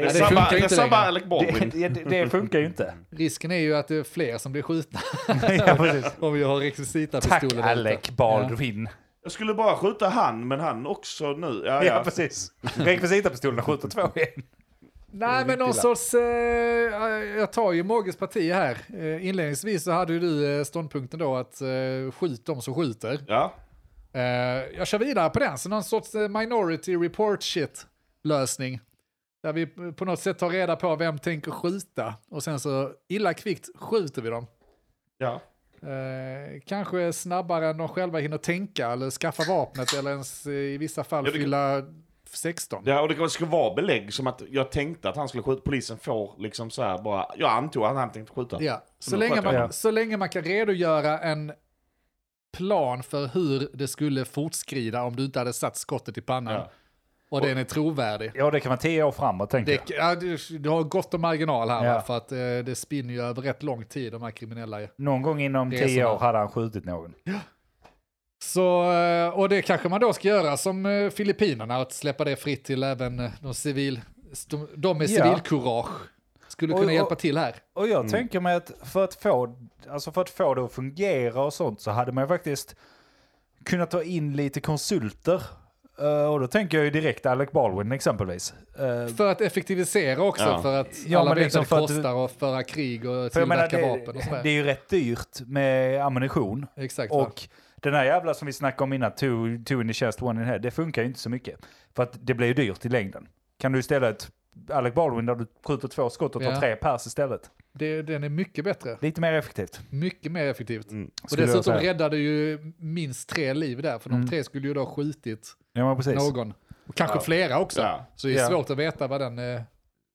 [SPEAKER 5] Det är
[SPEAKER 4] det
[SPEAKER 5] samma,
[SPEAKER 4] funkar
[SPEAKER 5] det är
[SPEAKER 4] inte
[SPEAKER 5] samma
[SPEAKER 4] längre.
[SPEAKER 5] Alec Baldwin.
[SPEAKER 1] det, det, det funkar ju inte.
[SPEAKER 4] Risken är ju att det är fler som blir skjutna
[SPEAKER 1] ja, precis.
[SPEAKER 4] om vi har rekvisita
[SPEAKER 1] Tack
[SPEAKER 4] pistoler. där ute.
[SPEAKER 1] Alec Baldwin.
[SPEAKER 5] Jag skulle bara skjuta han, men han också nu.
[SPEAKER 1] Ja,
[SPEAKER 5] Ja, ja.
[SPEAKER 1] precis. Rekvisitapistolerna skjuter två igen.
[SPEAKER 4] Nej, men någon
[SPEAKER 1] illa.
[SPEAKER 4] sorts... Eh, jag tar ju Mogges parti här. Eh, inledningsvis så hade ju du eh, ståndpunkten då att eh, skjut de som skjuter.
[SPEAKER 5] ja.
[SPEAKER 4] Eh, jag kör vidare på den, så någon sorts eh, minority report shit-lösning. Där vi eh, på något sätt tar reda på vem tänker skjuta och sen så illa kvickt skjuter vi dem.
[SPEAKER 5] ja.
[SPEAKER 4] Eh, kanske snabbare än de själva hinner tänka eller skaffa vapnet eller ens eh, i vissa fall
[SPEAKER 5] Ja, det-
[SPEAKER 4] fylla 16.
[SPEAKER 5] Ja, och det kanske skulle vara belägg som att jag tänkte att han skulle skjuta. Polisen får liksom så här bara, jag antog att han tänkte skjuta.
[SPEAKER 4] Ja, så
[SPEAKER 5] Men
[SPEAKER 4] länge,
[SPEAKER 5] sköter
[SPEAKER 4] man,
[SPEAKER 5] jag
[SPEAKER 4] så länge man kan redogöra en plan för hur det skulle fortskrida om du inte hade satt skottet i pannan.
[SPEAKER 5] Ja.
[SPEAKER 4] Och den är trovärdig.
[SPEAKER 1] Ja, det kan vara tio år framåt, tänker jag.
[SPEAKER 4] Det, ja, du, du har gott om marginal här,
[SPEAKER 1] Ja.
[SPEAKER 4] va? för att eh, det spinner ju över rätt lång tid, de här kriminella.
[SPEAKER 1] Någon gång inom
[SPEAKER 4] Det är
[SPEAKER 1] tio
[SPEAKER 4] såna-
[SPEAKER 1] år hade han skjutit någon.
[SPEAKER 4] Så, eh, och det kanske man då ska göra som eh, Filippinerna, att släppa det fritt till även eh, de, civil, st- de med
[SPEAKER 1] Ja.
[SPEAKER 4] civilkurage. Skulle kunna
[SPEAKER 1] Och- och-
[SPEAKER 4] hjälpa till här.
[SPEAKER 1] Och
[SPEAKER 5] Mm.
[SPEAKER 1] jag tänker mig att för att, få, alltså för att få det att fungera och sånt så hade man ju faktiskt kunnat ta in lite konsulter. Eh, och då tänker jag ju direkt Alec Baldwin exempelvis. Eh,
[SPEAKER 4] För att effektivisera också,
[SPEAKER 5] Ja.
[SPEAKER 4] för att
[SPEAKER 1] Ja,
[SPEAKER 4] alla
[SPEAKER 1] men
[SPEAKER 4] vet
[SPEAKER 1] liksom
[SPEAKER 4] vad
[SPEAKER 1] för
[SPEAKER 4] det
[SPEAKER 1] att du-
[SPEAKER 4] kostar att föra krig och
[SPEAKER 1] för jag menar,
[SPEAKER 4] tillverka
[SPEAKER 1] det,
[SPEAKER 4] vapen och sådär.
[SPEAKER 1] det är ju rätt dyrt med ammunition.
[SPEAKER 4] Exakt. va?
[SPEAKER 1] Och den här jävla som vi snackade om innan, two, two in the chest, one in the head, det funkar ju inte så mycket. För att det blir ju dyrt i längden. Kan du istället, Alec Baldwin, där du skjuter två skott och tar
[SPEAKER 4] Ja.
[SPEAKER 1] tre pers istället.
[SPEAKER 4] det, den är mycket bättre.
[SPEAKER 1] Lite mer effektivt.
[SPEAKER 4] Mycket mer effektivt.
[SPEAKER 5] Mm.
[SPEAKER 4] och
[SPEAKER 1] skulle jag
[SPEAKER 4] dessutom
[SPEAKER 1] säga.
[SPEAKER 4] räddade ju minst tre liv där, för
[SPEAKER 1] Mm.
[SPEAKER 4] de tre skulle ju då ha skjutit
[SPEAKER 1] Ja, men precis.
[SPEAKER 4] någon. Och kanske flera också.
[SPEAKER 5] Ja.
[SPEAKER 4] Så det är
[SPEAKER 1] Ja.
[SPEAKER 4] svårt att veta vad den eh,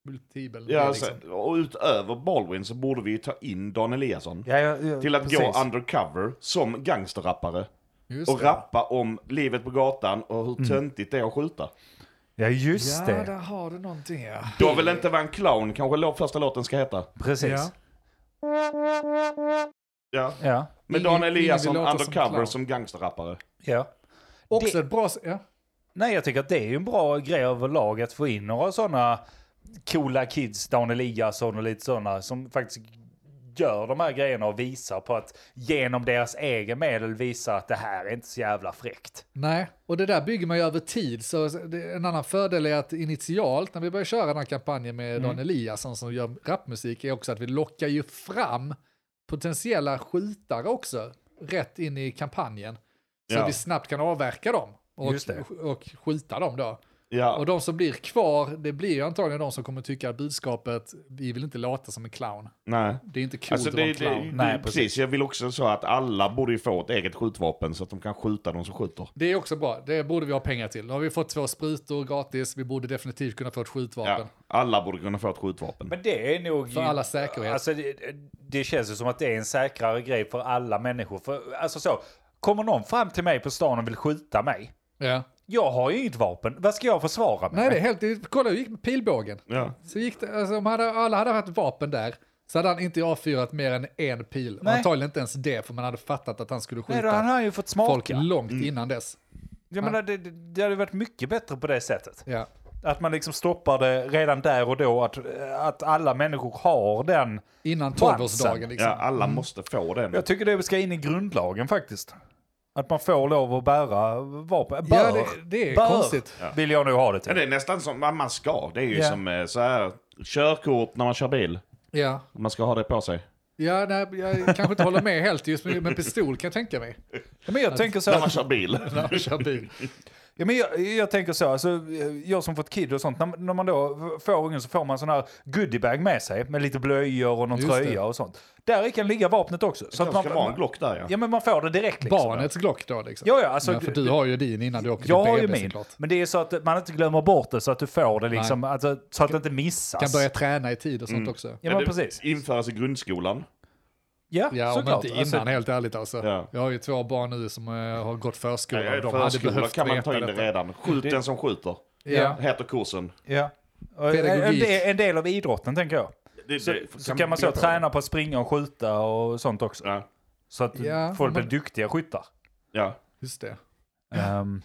[SPEAKER 4] multibel
[SPEAKER 5] Ja,
[SPEAKER 4] är.
[SPEAKER 5] alltså,
[SPEAKER 4] Liksom.
[SPEAKER 5] och utöver Baldwin så borde vi ju ta in Dan Eliasson.
[SPEAKER 1] Ja, ja, ja,
[SPEAKER 5] Till att
[SPEAKER 1] precis.
[SPEAKER 5] gå undercover som gangsterrappare.
[SPEAKER 4] Just
[SPEAKER 5] Och
[SPEAKER 4] det.
[SPEAKER 5] rappa om livet på gatan och hur töntigt det är att skjuta.
[SPEAKER 1] Ja, just
[SPEAKER 4] Ja, där
[SPEAKER 1] det.
[SPEAKER 4] har du någonting. Ja.
[SPEAKER 5] Då vill inte vara en clown, kanske lå- första låten ska heta.
[SPEAKER 1] Precis.
[SPEAKER 4] Ja.
[SPEAKER 1] Ja.
[SPEAKER 5] Ja.
[SPEAKER 1] Ja.
[SPEAKER 5] Men
[SPEAKER 4] Ingen-
[SPEAKER 5] Dan
[SPEAKER 4] ingen vill
[SPEAKER 5] Eliasson
[SPEAKER 4] låta som
[SPEAKER 5] undercover
[SPEAKER 4] clown.
[SPEAKER 5] som, gangsterrappare.
[SPEAKER 4] Också ett bra... s- Ja.
[SPEAKER 1] Nej, jag tycker att det är ju en bra grej överlag att få in några sådana coola kids, Dan Eliasson och lite sådana, som faktiskt gör de här grejerna och visar på att genom deras egen medel visa att det här är inte så jävla fräckt.
[SPEAKER 4] Nej, och det där bygger man ju över tid. Så det, en annan fördel är att initialt när vi börjar köra den här kampanjen med
[SPEAKER 1] Mm.
[SPEAKER 4] Dan Eliasson som gör rapmusik är också att vi lockar ju fram potentiella skjutare också rätt in i kampanjen. Så
[SPEAKER 5] Ja.
[SPEAKER 4] att vi snabbt kan avverka dem och,
[SPEAKER 1] Just det.
[SPEAKER 4] och skjuta dem då.
[SPEAKER 5] Ja.
[SPEAKER 4] Och de som blir kvar, det blir ju antagligen de som kommer tycka att budskapet, vi vill inte låta som en clown.
[SPEAKER 5] Nej.
[SPEAKER 4] Det är inte coolt
[SPEAKER 5] Alltså
[SPEAKER 4] att vara
[SPEAKER 5] det,
[SPEAKER 4] en
[SPEAKER 5] det,
[SPEAKER 4] clown.
[SPEAKER 5] det,
[SPEAKER 1] Nej,
[SPEAKER 5] precis.
[SPEAKER 1] precis.
[SPEAKER 5] jag vill också så att alla borde ju få ett eget skjutvapen så att de kan skjuta de som skjuter.
[SPEAKER 4] Det är också bra, det borde vi ha pengar till. Nu har vi fått två sprutor gratis, vi borde definitivt kunna få ett skjutvapen.
[SPEAKER 5] Ja. Alla borde kunna få ett skjutvapen.
[SPEAKER 1] Men det är nog...
[SPEAKER 4] För alla säkerhet.
[SPEAKER 1] Alltså, det, det känns ju som att det är en säkrare grej för alla människor. För, alltså så, kommer någon fram till mig på stan och vill skjuta mig,
[SPEAKER 4] Ja.
[SPEAKER 1] jag har ju inget vapen. Vad ska jag försvara mig
[SPEAKER 4] Nej, det är
[SPEAKER 1] med?
[SPEAKER 4] helt... det- Kolla hur det gick med pilbågen.
[SPEAKER 5] Ja.
[SPEAKER 4] Så gick det, alltså, om hade, alla hade haft vapen där så hade han inte avfyrat mer än en pil. Och
[SPEAKER 1] Nej.
[SPEAKER 4] antagligen inte ens det, för man hade fattat att han skulle
[SPEAKER 1] Nej, då
[SPEAKER 4] skjuta
[SPEAKER 1] har han Mm. ju fått smaka.
[SPEAKER 4] folk långt innan dess.
[SPEAKER 1] Jag menar, det, det- det hade varit mycket bättre på det sättet.
[SPEAKER 4] Ja.
[SPEAKER 1] Att man liksom stoppar det redan där och då, att, att alla människor har den.
[SPEAKER 4] Innan
[SPEAKER 1] Chansen.
[SPEAKER 4] tolvårsdagen. Liksom.
[SPEAKER 5] Ja, alla måste få den.
[SPEAKER 1] Jag tycker det ska in i grundlagen faktiskt. Att man får lov att bära vapen. Bör,
[SPEAKER 4] Ja, det- det är
[SPEAKER 1] bör,
[SPEAKER 4] konstigt.
[SPEAKER 1] vill jag nu ha det till.
[SPEAKER 5] Ja, det är nästan som vad man ska. Det är ju
[SPEAKER 1] Ja.
[SPEAKER 5] som eh, så här, körkort när man kör bil.
[SPEAKER 4] Ja.
[SPEAKER 5] Man ska ha det på sig.
[SPEAKER 4] Ja, nej, jag kanske inte håller med helt just med, med pistol kan jag tänka mig.
[SPEAKER 1] Ja, Men jag tänker så
[SPEAKER 5] När
[SPEAKER 1] här,
[SPEAKER 5] man kör bil.
[SPEAKER 4] När man kör bil.
[SPEAKER 1] Ja, men jag, jag tänker så, alltså, jag som fått kid och sånt, när, när man då får ungen så får man sån här goodiebag med sig med lite blöjor och någon
[SPEAKER 4] Just det.
[SPEAKER 1] tröja och sånt. Där kan ligga vapnet också. Så
[SPEAKER 5] Så
[SPEAKER 1] att
[SPEAKER 5] man ska vara
[SPEAKER 1] man,
[SPEAKER 5] en Glock där ja.
[SPEAKER 1] ja, men man får det direkt. Liksom.
[SPEAKER 4] Barnets Glock då liksom.
[SPEAKER 1] Ja, ja, alltså,
[SPEAKER 4] Nej, för du har ju din innan du åker
[SPEAKER 1] jag
[SPEAKER 4] till
[SPEAKER 1] har ju
[SPEAKER 4] BB
[SPEAKER 1] min,
[SPEAKER 4] såklart.
[SPEAKER 1] men det är så att man inte glömmer bort det så att du får det liksom, alltså, så att det inte missas.
[SPEAKER 5] Alltså-
[SPEAKER 4] Kan börja träna i tid och
[SPEAKER 5] Mm.
[SPEAKER 4] sånt också.
[SPEAKER 1] Ja, men
[SPEAKER 5] det
[SPEAKER 1] precis.
[SPEAKER 5] Införas i grundskolan.
[SPEAKER 1] Ja,
[SPEAKER 4] Ja, om
[SPEAKER 1] såklart.
[SPEAKER 4] inte innan
[SPEAKER 1] Alltså,
[SPEAKER 4] helt ärligt alltså.
[SPEAKER 5] Ja.
[SPEAKER 4] Jag har ju två barn nu som eh, har gått förskola.
[SPEAKER 5] Ja, I
[SPEAKER 4] de hade
[SPEAKER 5] förskolan
[SPEAKER 4] behövt
[SPEAKER 5] kan man
[SPEAKER 4] veta
[SPEAKER 5] ta in det
[SPEAKER 4] detta.
[SPEAKER 5] redan. Skjut den som skjuter.
[SPEAKER 4] Ja.
[SPEAKER 5] Heter kursen.
[SPEAKER 1] ja. Och eh, En,
[SPEAKER 4] Pedagogik.
[SPEAKER 1] del- en del av idrotten tänker jag.
[SPEAKER 5] Det,
[SPEAKER 1] Så,
[SPEAKER 5] det-
[SPEAKER 1] så kan man
[SPEAKER 5] bygga
[SPEAKER 1] så
[SPEAKER 5] på
[SPEAKER 1] träna på att springa och skjuta och sånt också.
[SPEAKER 5] det. Ja.
[SPEAKER 1] Så att
[SPEAKER 4] Ja,
[SPEAKER 1] folk
[SPEAKER 4] men-
[SPEAKER 1] blir duktiga skyttar.
[SPEAKER 5] ja.
[SPEAKER 4] Just det.
[SPEAKER 1] Ehm,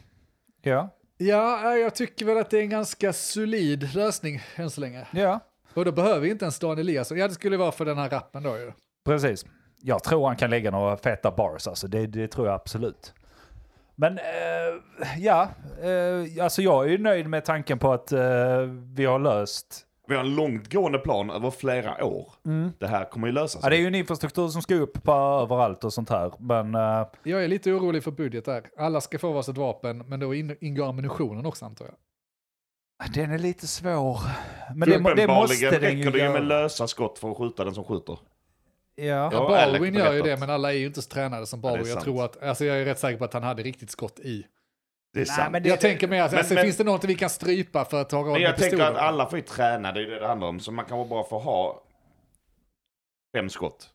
[SPEAKER 1] ja,
[SPEAKER 4] Ja, eh, jag tycker väl att det är en ganska solid lösning än så länge.
[SPEAKER 1] ja,
[SPEAKER 4] Och då behöver vi inte ens Dan Eliasson. Ja, det skulle vara för den här rappen då ju.
[SPEAKER 1] precis. Jag tror han kan lägga några feta bars, alltså. det, det tror jag absolut. Men eh, ja, eh, alltså jag är ju nöjd med tanken på att eh, vi har löst.
[SPEAKER 5] Vi har en långtgående plan över flera år.
[SPEAKER 4] Mm.
[SPEAKER 5] Det här kommer ju lösa sig.
[SPEAKER 1] Ja, det är ju en infrastruktur som ska upp på överallt och sånt här. Men eh,
[SPEAKER 4] Jag är lite orolig för budget där. Alla ska få varsitt vapen, men då in- ingår ammunitionen också antar jag.
[SPEAKER 1] den är lite svår. Men det, det måste
[SPEAKER 5] Uppenbarligen
[SPEAKER 1] den ju
[SPEAKER 5] räcker det ju med
[SPEAKER 1] göra.
[SPEAKER 5] lösa skott för att skjuta den som skjuter.
[SPEAKER 1] Ja.
[SPEAKER 5] Ja,
[SPEAKER 4] Baldwin
[SPEAKER 5] Alec
[SPEAKER 4] gör ju
[SPEAKER 5] berättat.
[SPEAKER 4] det, men alla är ju inte så tränade som
[SPEAKER 5] det är
[SPEAKER 4] Baldwin. jag
[SPEAKER 5] sant.
[SPEAKER 4] tror att, alltså jag är rätt säker på att han hade riktigt skott i.
[SPEAKER 5] Det är sant.
[SPEAKER 1] men
[SPEAKER 5] Men,
[SPEAKER 1] det-
[SPEAKER 4] jag tänker mig att,
[SPEAKER 5] men-
[SPEAKER 4] alltså,
[SPEAKER 5] men-
[SPEAKER 4] finns det något vi kan strypa för att ha råd med
[SPEAKER 5] jag tänker att
[SPEAKER 4] pistoler?
[SPEAKER 5] alla får ju träna, det är ju det det handlar om. Så man kanske bara får ha fem skott.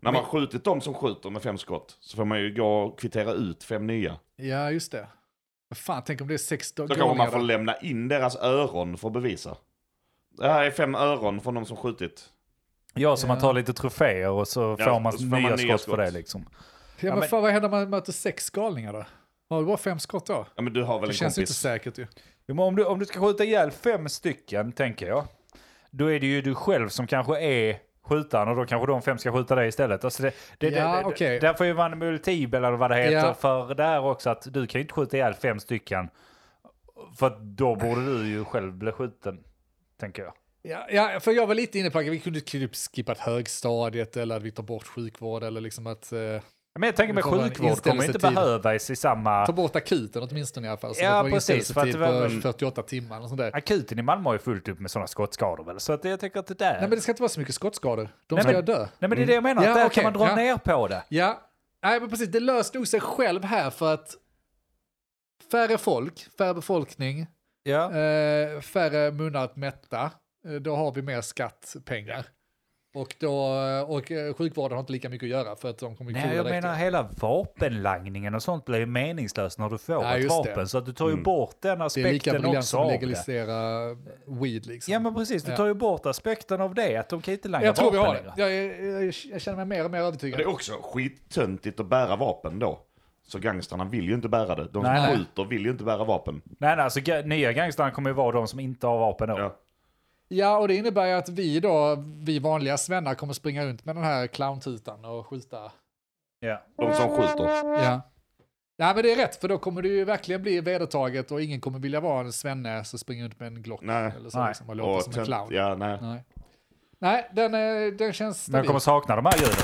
[SPEAKER 5] När man skjutit de som skjuter med fem skott så får man ju gå och kvittera ut fem nya.
[SPEAKER 4] Ja, just det. Vad Fan, tänk om det är sex
[SPEAKER 5] Så kanske man får
[SPEAKER 4] dagar.
[SPEAKER 5] lämna in deras öron för att bevisa. Det här är fem öron från de som skjutit.
[SPEAKER 1] ja, så man
[SPEAKER 4] Ja.
[SPEAKER 1] tar lite troféer och så
[SPEAKER 5] Ja,
[SPEAKER 1] får man
[SPEAKER 5] och så får
[SPEAKER 1] nya,
[SPEAKER 5] man nya
[SPEAKER 1] skott,
[SPEAKER 5] skott.
[SPEAKER 1] för det liksom.
[SPEAKER 4] Ja, men
[SPEAKER 1] men-
[SPEAKER 4] fan, vad händer om man möter sex galningar då? Har du bara fem skott då?
[SPEAKER 5] Ja men du har väl
[SPEAKER 4] Det
[SPEAKER 5] en
[SPEAKER 4] känns ju inte
[SPEAKER 5] kompis?
[SPEAKER 4] säkert ju.
[SPEAKER 1] Jo, men Om du, om du ska skjuta ihjäl fem stycken, tänker jag, då är det ju du själv som kanske är skjutaren och då kanske de fem ska skjuta dig istället. Alltså det, det,
[SPEAKER 4] Ja,
[SPEAKER 1] det, det,
[SPEAKER 4] okej.
[SPEAKER 1] Där får ju vara en multibel eller vad det heter
[SPEAKER 4] Ja.
[SPEAKER 1] för det här också att du kan ju inte skjuta ihjäl fem stycken. För att då borde du ju själv bli skjuten, tänker jag.
[SPEAKER 4] Ja, ja, för jag var lite inne på att vi kunde typ skippat högstadiet eller att vi tar bort sjukvård eller liksom att eh,
[SPEAKER 1] Men jag tänker
[SPEAKER 4] Det
[SPEAKER 1] med
[SPEAKER 4] kommer en
[SPEAKER 1] sjukvård kommer ju inte
[SPEAKER 4] inställelsetid.
[SPEAKER 1] behövas i samma...
[SPEAKER 4] ta bort akuten åtminstone i alla fall. Så
[SPEAKER 1] Ja,
[SPEAKER 4] det var
[SPEAKER 1] precis,
[SPEAKER 4] inställelsetid
[SPEAKER 1] för att det var-
[SPEAKER 4] på 48 timmar och sånt där.
[SPEAKER 1] Akuten i Malmö har ju fullt upp med sådana skottskador väl, så att jag tänker att det där...
[SPEAKER 4] Nej, men det ska inte vara så mycket skottskador. De
[SPEAKER 1] Nej,
[SPEAKER 4] ska
[SPEAKER 1] men-
[SPEAKER 4] dö.
[SPEAKER 1] Nej, men det är det jag menar,
[SPEAKER 4] Ja,
[SPEAKER 1] att där
[SPEAKER 4] okej,
[SPEAKER 1] kan man dra
[SPEAKER 4] ja.
[SPEAKER 1] ner på det.
[SPEAKER 4] Ja, nej men precis. Det löste nog sig själv här för att färre folk, färre befolkning,
[SPEAKER 1] Ja.
[SPEAKER 4] eh, färre munnar att mätta. eh, Då har vi mer skattpengar. Och, då, och eh, sjukvården har inte lika mycket att göra för att de kommer
[SPEAKER 1] Nej, jag
[SPEAKER 4] direkt.
[SPEAKER 1] menar hela vapenlangningen och sånt blir ju meningslöst när du får
[SPEAKER 4] Ja,
[SPEAKER 1] ett
[SPEAKER 4] just det. Mm.
[SPEAKER 1] vapen. Så att du tar ju bort den
[SPEAKER 4] Det är lika
[SPEAKER 1] aspekten
[SPEAKER 4] briljant
[SPEAKER 1] också
[SPEAKER 4] som
[SPEAKER 1] av
[SPEAKER 4] att
[SPEAKER 1] det.
[SPEAKER 4] legalisera weed liksom.
[SPEAKER 1] Ja men precis, du tar ju bort aspekten av det. Att de kan inte langa
[SPEAKER 4] jag tror vi har
[SPEAKER 1] vapen
[SPEAKER 4] det. Jag, är- jag, jag känner mig mer och mer
[SPEAKER 5] Ja,
[SPEAKER 4] övertygad.
[SPEAKER 5] Det är också skittöntigt att bära vapen då. Så gangstrarna vill ju inte bära det. De som
[SPEAKER 1] Nej, nej.
[SPEAKER 5] skjuter vill ju inte bära vapen.
[SPEAKER 1] Nej, nej, alltså ga- nya gangstrarna kommer ju vara de som inte har vapen då.
[SPEAKER 5] Ja.
[SPEAKER 4] Ja, och det innebär ju att vi då, vi vanliga svennar kommer springa runt med den här clowntutan och skjuta.
[SPEAKER 1] Ja.
[SPEAKER 5] De som skjuter.
[SPEAKER 4] Ja. Ja, men det är rätt, för då kommer det ju verkligen bli vedertaget och ingen kommer vilja vara en svenne som springer runt med en Glock.
[SPEAKER 5] Nej.
[SPEAKER 4] Eller så
[SPEAKER 1] Nej.
[SPEAKER 4] liksom, och låter som en
[SPEAKER 5] tönt-
[SPEAKER 4] clown.
[SPEAKER 5] Ja, nej.
[SPEAKER 4] Nej, nej den, är, den känns
[SPEAKER 1] Men jag
[SPEAKER 4] stabil.
[SPEAKER 1] kommer sakna de här ljuden.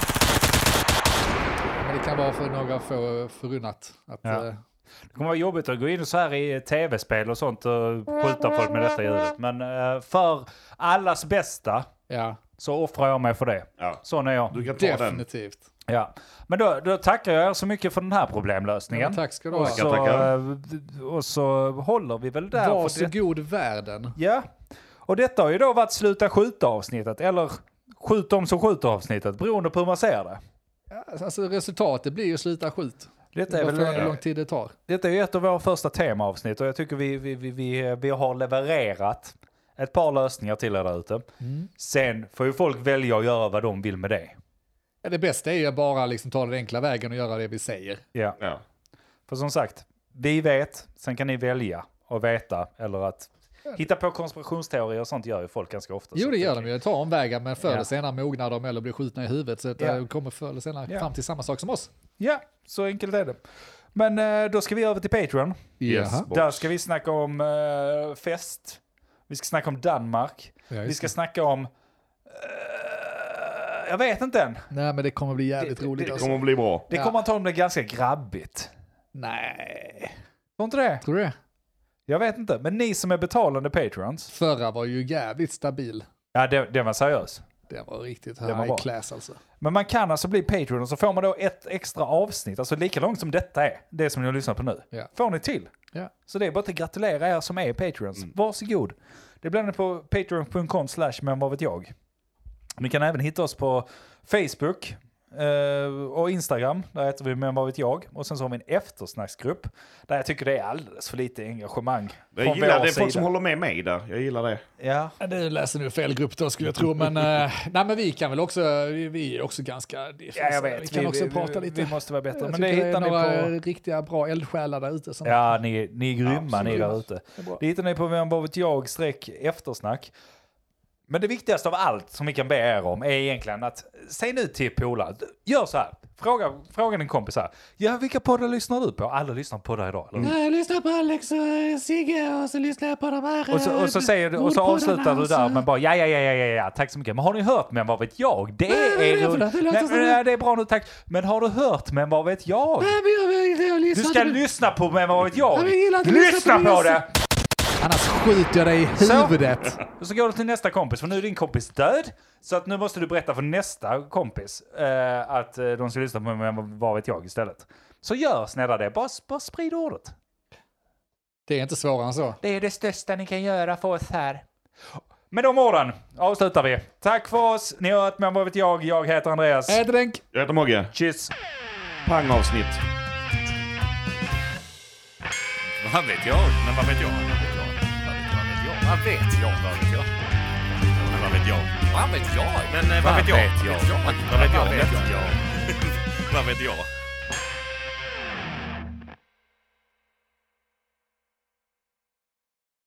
[SPEAKER 4] Men det kan vara för några få förunnat. Att,
[SPEAKER 1] Ja.
[SPEAKER 4] eh,
[SPEAKER 1] Det kommer vara jobbigt att gå in så här i tv-spel och sånt och skjuta folk med detta ljudet. Men eh, för allas bästa
[SPEAKER 4] ja
[SPEAKER 1] så offrar jag mig för det.
[SPEAKER 5] Ja.
[SPEAKER 1] Sån är jag.
[SPEAKER 5] Du kan ta den.
[SPEAKER 4] definitivt.
[SPEAKER 1] Ja. Men då, då tackar jag er så mycket för den här problemlösningen.
[SPEAKER 4] Ja, tack ska du
[SPEAKER 1] och
[SPEAKER 4] ha.
[SPEAKER 1] så,
[SPEAKER 5] Tackar,
[SPEAKER 1] eh, och så håller vi väl där. för det-
[SPEAKER 4] Varsågod världen.
[SPEAKER 1] Ja, och detta har ju då varit sluta skjuta-avsnittet, eller skjut dem som skjuter-avsnittet, beroende på hur man ser det.
[SPEAKER 4] Ja, Alltså, resultatet blir ju sluta skjut.
[SPEAKER 1] Detta är,
[SPEAKER 4] Det är eh,
[SPEAKER 1] väl,
[SPEAKER 4] hur lång tid det tar.
[SPEAKER 1] detta är ju ett av våra första temaavsnitt och jag tycker vi, vi, vi, vi, vi har levererat ett par lösningar till er där ute.
[SPEAKER 4] Mm.
[SPEAKER 1] Sen får ju folk välja att göra vad de vill med det.
[SPEAKER 4] Ja, Det bästa är ju bara liksom ta den enkla vägen och göra det vi säger.
[SPEAKER 1] Ja,
[SPEAKER 5] Ja.
[SPEAKER 1] för som sagt, vi vet, sen kan ni välja att veta eller att hitta på konspirationsteorier och sånt gör ju folk ganska ofta.
[SPEAKER 4] Jo,
[SPEAKER 1] Så
[SPEAKER 4] det gör
[SPEAKER 1] jag
[SPEAKER 4] de ju. Ta omvägar, men förr eller
[SPEAKER 1] Ja.
[SPEAKER 4] senare mognar de eller blir skjutna i huvudet. Så att eh,
[SPEAKER 1] Ja.
[SPEAKER 4] de kommer förr eller senare
[SPEAKER 1] Ja.
[SPEAKER 4] fram till samma sak som oss.
[SPEAKER 1] Ja, så enkelt är det. Men eh, då ska vi över till Patreon.
[SPEAKER 5] Yes.
[SPEAKER 4] Jaha.
[SPEAKER 1] Där ska vi snacka om eh, fest. Vi ska snacka om Danmark.
[SPEAKER 4] Ja,
[SPEAKER 1] Vi
[SPEAKER 4] just
[SPEAKER 1] ska
[SPEAKER 4] det.
[SPEAKER 1] snacka om... eh, jag vet inte än.
[SPEAKER 4] Nej, men det kommer bli jävligt
[SPEAKER 1] Det- det-
[SPEAKER 4] roligt.
[SPEAKER 1] det
[SPEAKER 5] Det
[SPEAKER 4] alltså.
[SPEAKER 5] kommer att bli bra.
[SPEAKER 1] Det
[SPEAKER 4] Ja.
[SPEAKER 1] kommer antagligen bli ganska grabbigt.
[SPEAKER 4] Nej.
[SPEAKER 1] Tror inte det?
[SPEAKER 4] Tror du det?
[SPEAKER 1] Jag vet inte. Men ni som är betalande patrons.
[SPEAKER 4] Förra var ju jävligt stabil.
[SPEAKER 1] Ja, det, det var seriös.
[SPEAKER 4] Det var riktigt
[SPEAKER 1] var bra.
[SPEAKER 4] high class alltså.
[SPEAKER 1] Men man kan alltså bli Patreon och så får man då ett extra avsnitt, alltså lika långt som detta är, det som ni har lyssnat på nu.
[SPEAKER 4] Ja.
[SPEAKER 1] Får ni till.
[SPEAKER 4] Ja.
[SPEAKER 1] Så det är bara att gratulera er som är Patreons.
[SPEAKER 5] Mm.
[SPEAKER 1] Varsågod. Det blir ni på patreon.com slash men vad vet jag. Ni kan även hitta oss på Facebook eh, och Instagram. Där heter vi men vad vet jag. Och sen så har vi en eftersnacksgrupp. Där jag tycker det är alldeles för lite engagemang.
[SPEAKER 5] Jag
[SPEAKER 1] från
[SPEAKER 5] gillar
[SPEAKER 1] vår
[SPEAKER 5] det. är folk som
[SPEAKER 1] sida.
[SPEAKER 5] håller med mig där. Jag gillar det.
[SPEAKER 1] Ja.
[SPEAKER 4] Ja, Du läser nu fel grupp då skulle jag tro, men, eh, nej, men vi kan väl också, vi, vi är också ganska... det
[SPEAKER 1] ja, jag
[SPEAKER 4] finns-
[SPEAKER 1] vet.
[SPEAKER 4] Vi kan också prata lite.
[SPEAKER 1] Vi måste vara bättre.
[SPEAKER 4] jag
[SPEAKER 1] Men det
[SPEAKER 4] tycker det
[SPEAKER 1] hittar
[SPEAKER 4] är
[SPEAKER 1] ni
[SPEAKER 4] några
[SPEAKER 1] på...
[SPEAKER 4] riktiga bra eldsjälar där ute som
[SPEAKER 1] Ja, ni, ni är grymma
[SPEAKER 4] Absolut.
[SPEAKER 1] ni där ute.
[SPEAKER 4] är bra.
[SPEAKER 1] Det hittar ni på vem vad vet jag streck eftersnack. Men det viktigaste av allt som vi kan be er om är egentligen att säg nu till polare, gör så här, fråga, fråga din kompis här, ja vilka poddar lyssnar du på? Alla lyssnar på poddar idag, eller hur?
[SPEAKER 4] Jag lyssnar på Alex och eh, Sigge och så lyssnar jag på de här... eh,
[SPEAKER 1] Och så, och, så säger du, och så avslutar
[SPEAKER 4] alltså.
[SPEAKER 1] du där med bara ja, ja, ja, ja, ja, ja, tack så mycket. Men har ni hört Men vad vet jag? Det
[SPEAKER 4] Nej, vad är det
[SPEAKER 1] är...
[SPEAKER 4] för något? Det
[SPEAKER 1] Nej,
[SPEAKER 4] låter
[SPEAKER 1] nej,
[SPEAKER 4] som det.
[SPEAKER 1] nej, det är bra nu, tack. Men har du hört Men vad vet jag? Du ska lyssna på Men vad vet jag?
[SPEAKER 4] men jag gillar inte att lyssna
[SPEAKER 1] Lyssna
[SPEAKER 4] på
[SPEAKER 1] på
[SPEAKER 4] det.
[SPEAKER 1] det!
[SPEAKER 4] Annars skjuter jag dig i
[SPEAKER 1] Så.
[SPEAKER 4] huvudet.
[SPEAKER 1] Och så går du till nästa kompis, för nu är din kompis död. Så att nu måste du berätta för nästa kompis eh, att eh, de ska lyssna på mig, men vad vet jag istället. Så gör snälla det, bara, bara sprid ordet.
[SPEAKER 4] Det är inte svårare än så.
[SPEAKER 1] Det är det största ni kan göra för oss här. Med de orden avslutar vi. Tack för oss, ni har hört mig, vad vet jag, jag heter Andreas.
[SPEAKER 4] Ädränk!
[SPEAKER 5] Jag heter Mogge.
[SPEAKER 1] Kyss!
[SPEAKER 5] Pangavsnitt.
[SPEAKER 2] Vad vet jag? Men vad vet jag? Vad vet jag? Vad vet jag? Vad vet jag? Men vad vet jag? eh, Vad vet jag? Men vad vet jag? Vad vet jag? Vad vet jag? Vad vet jag?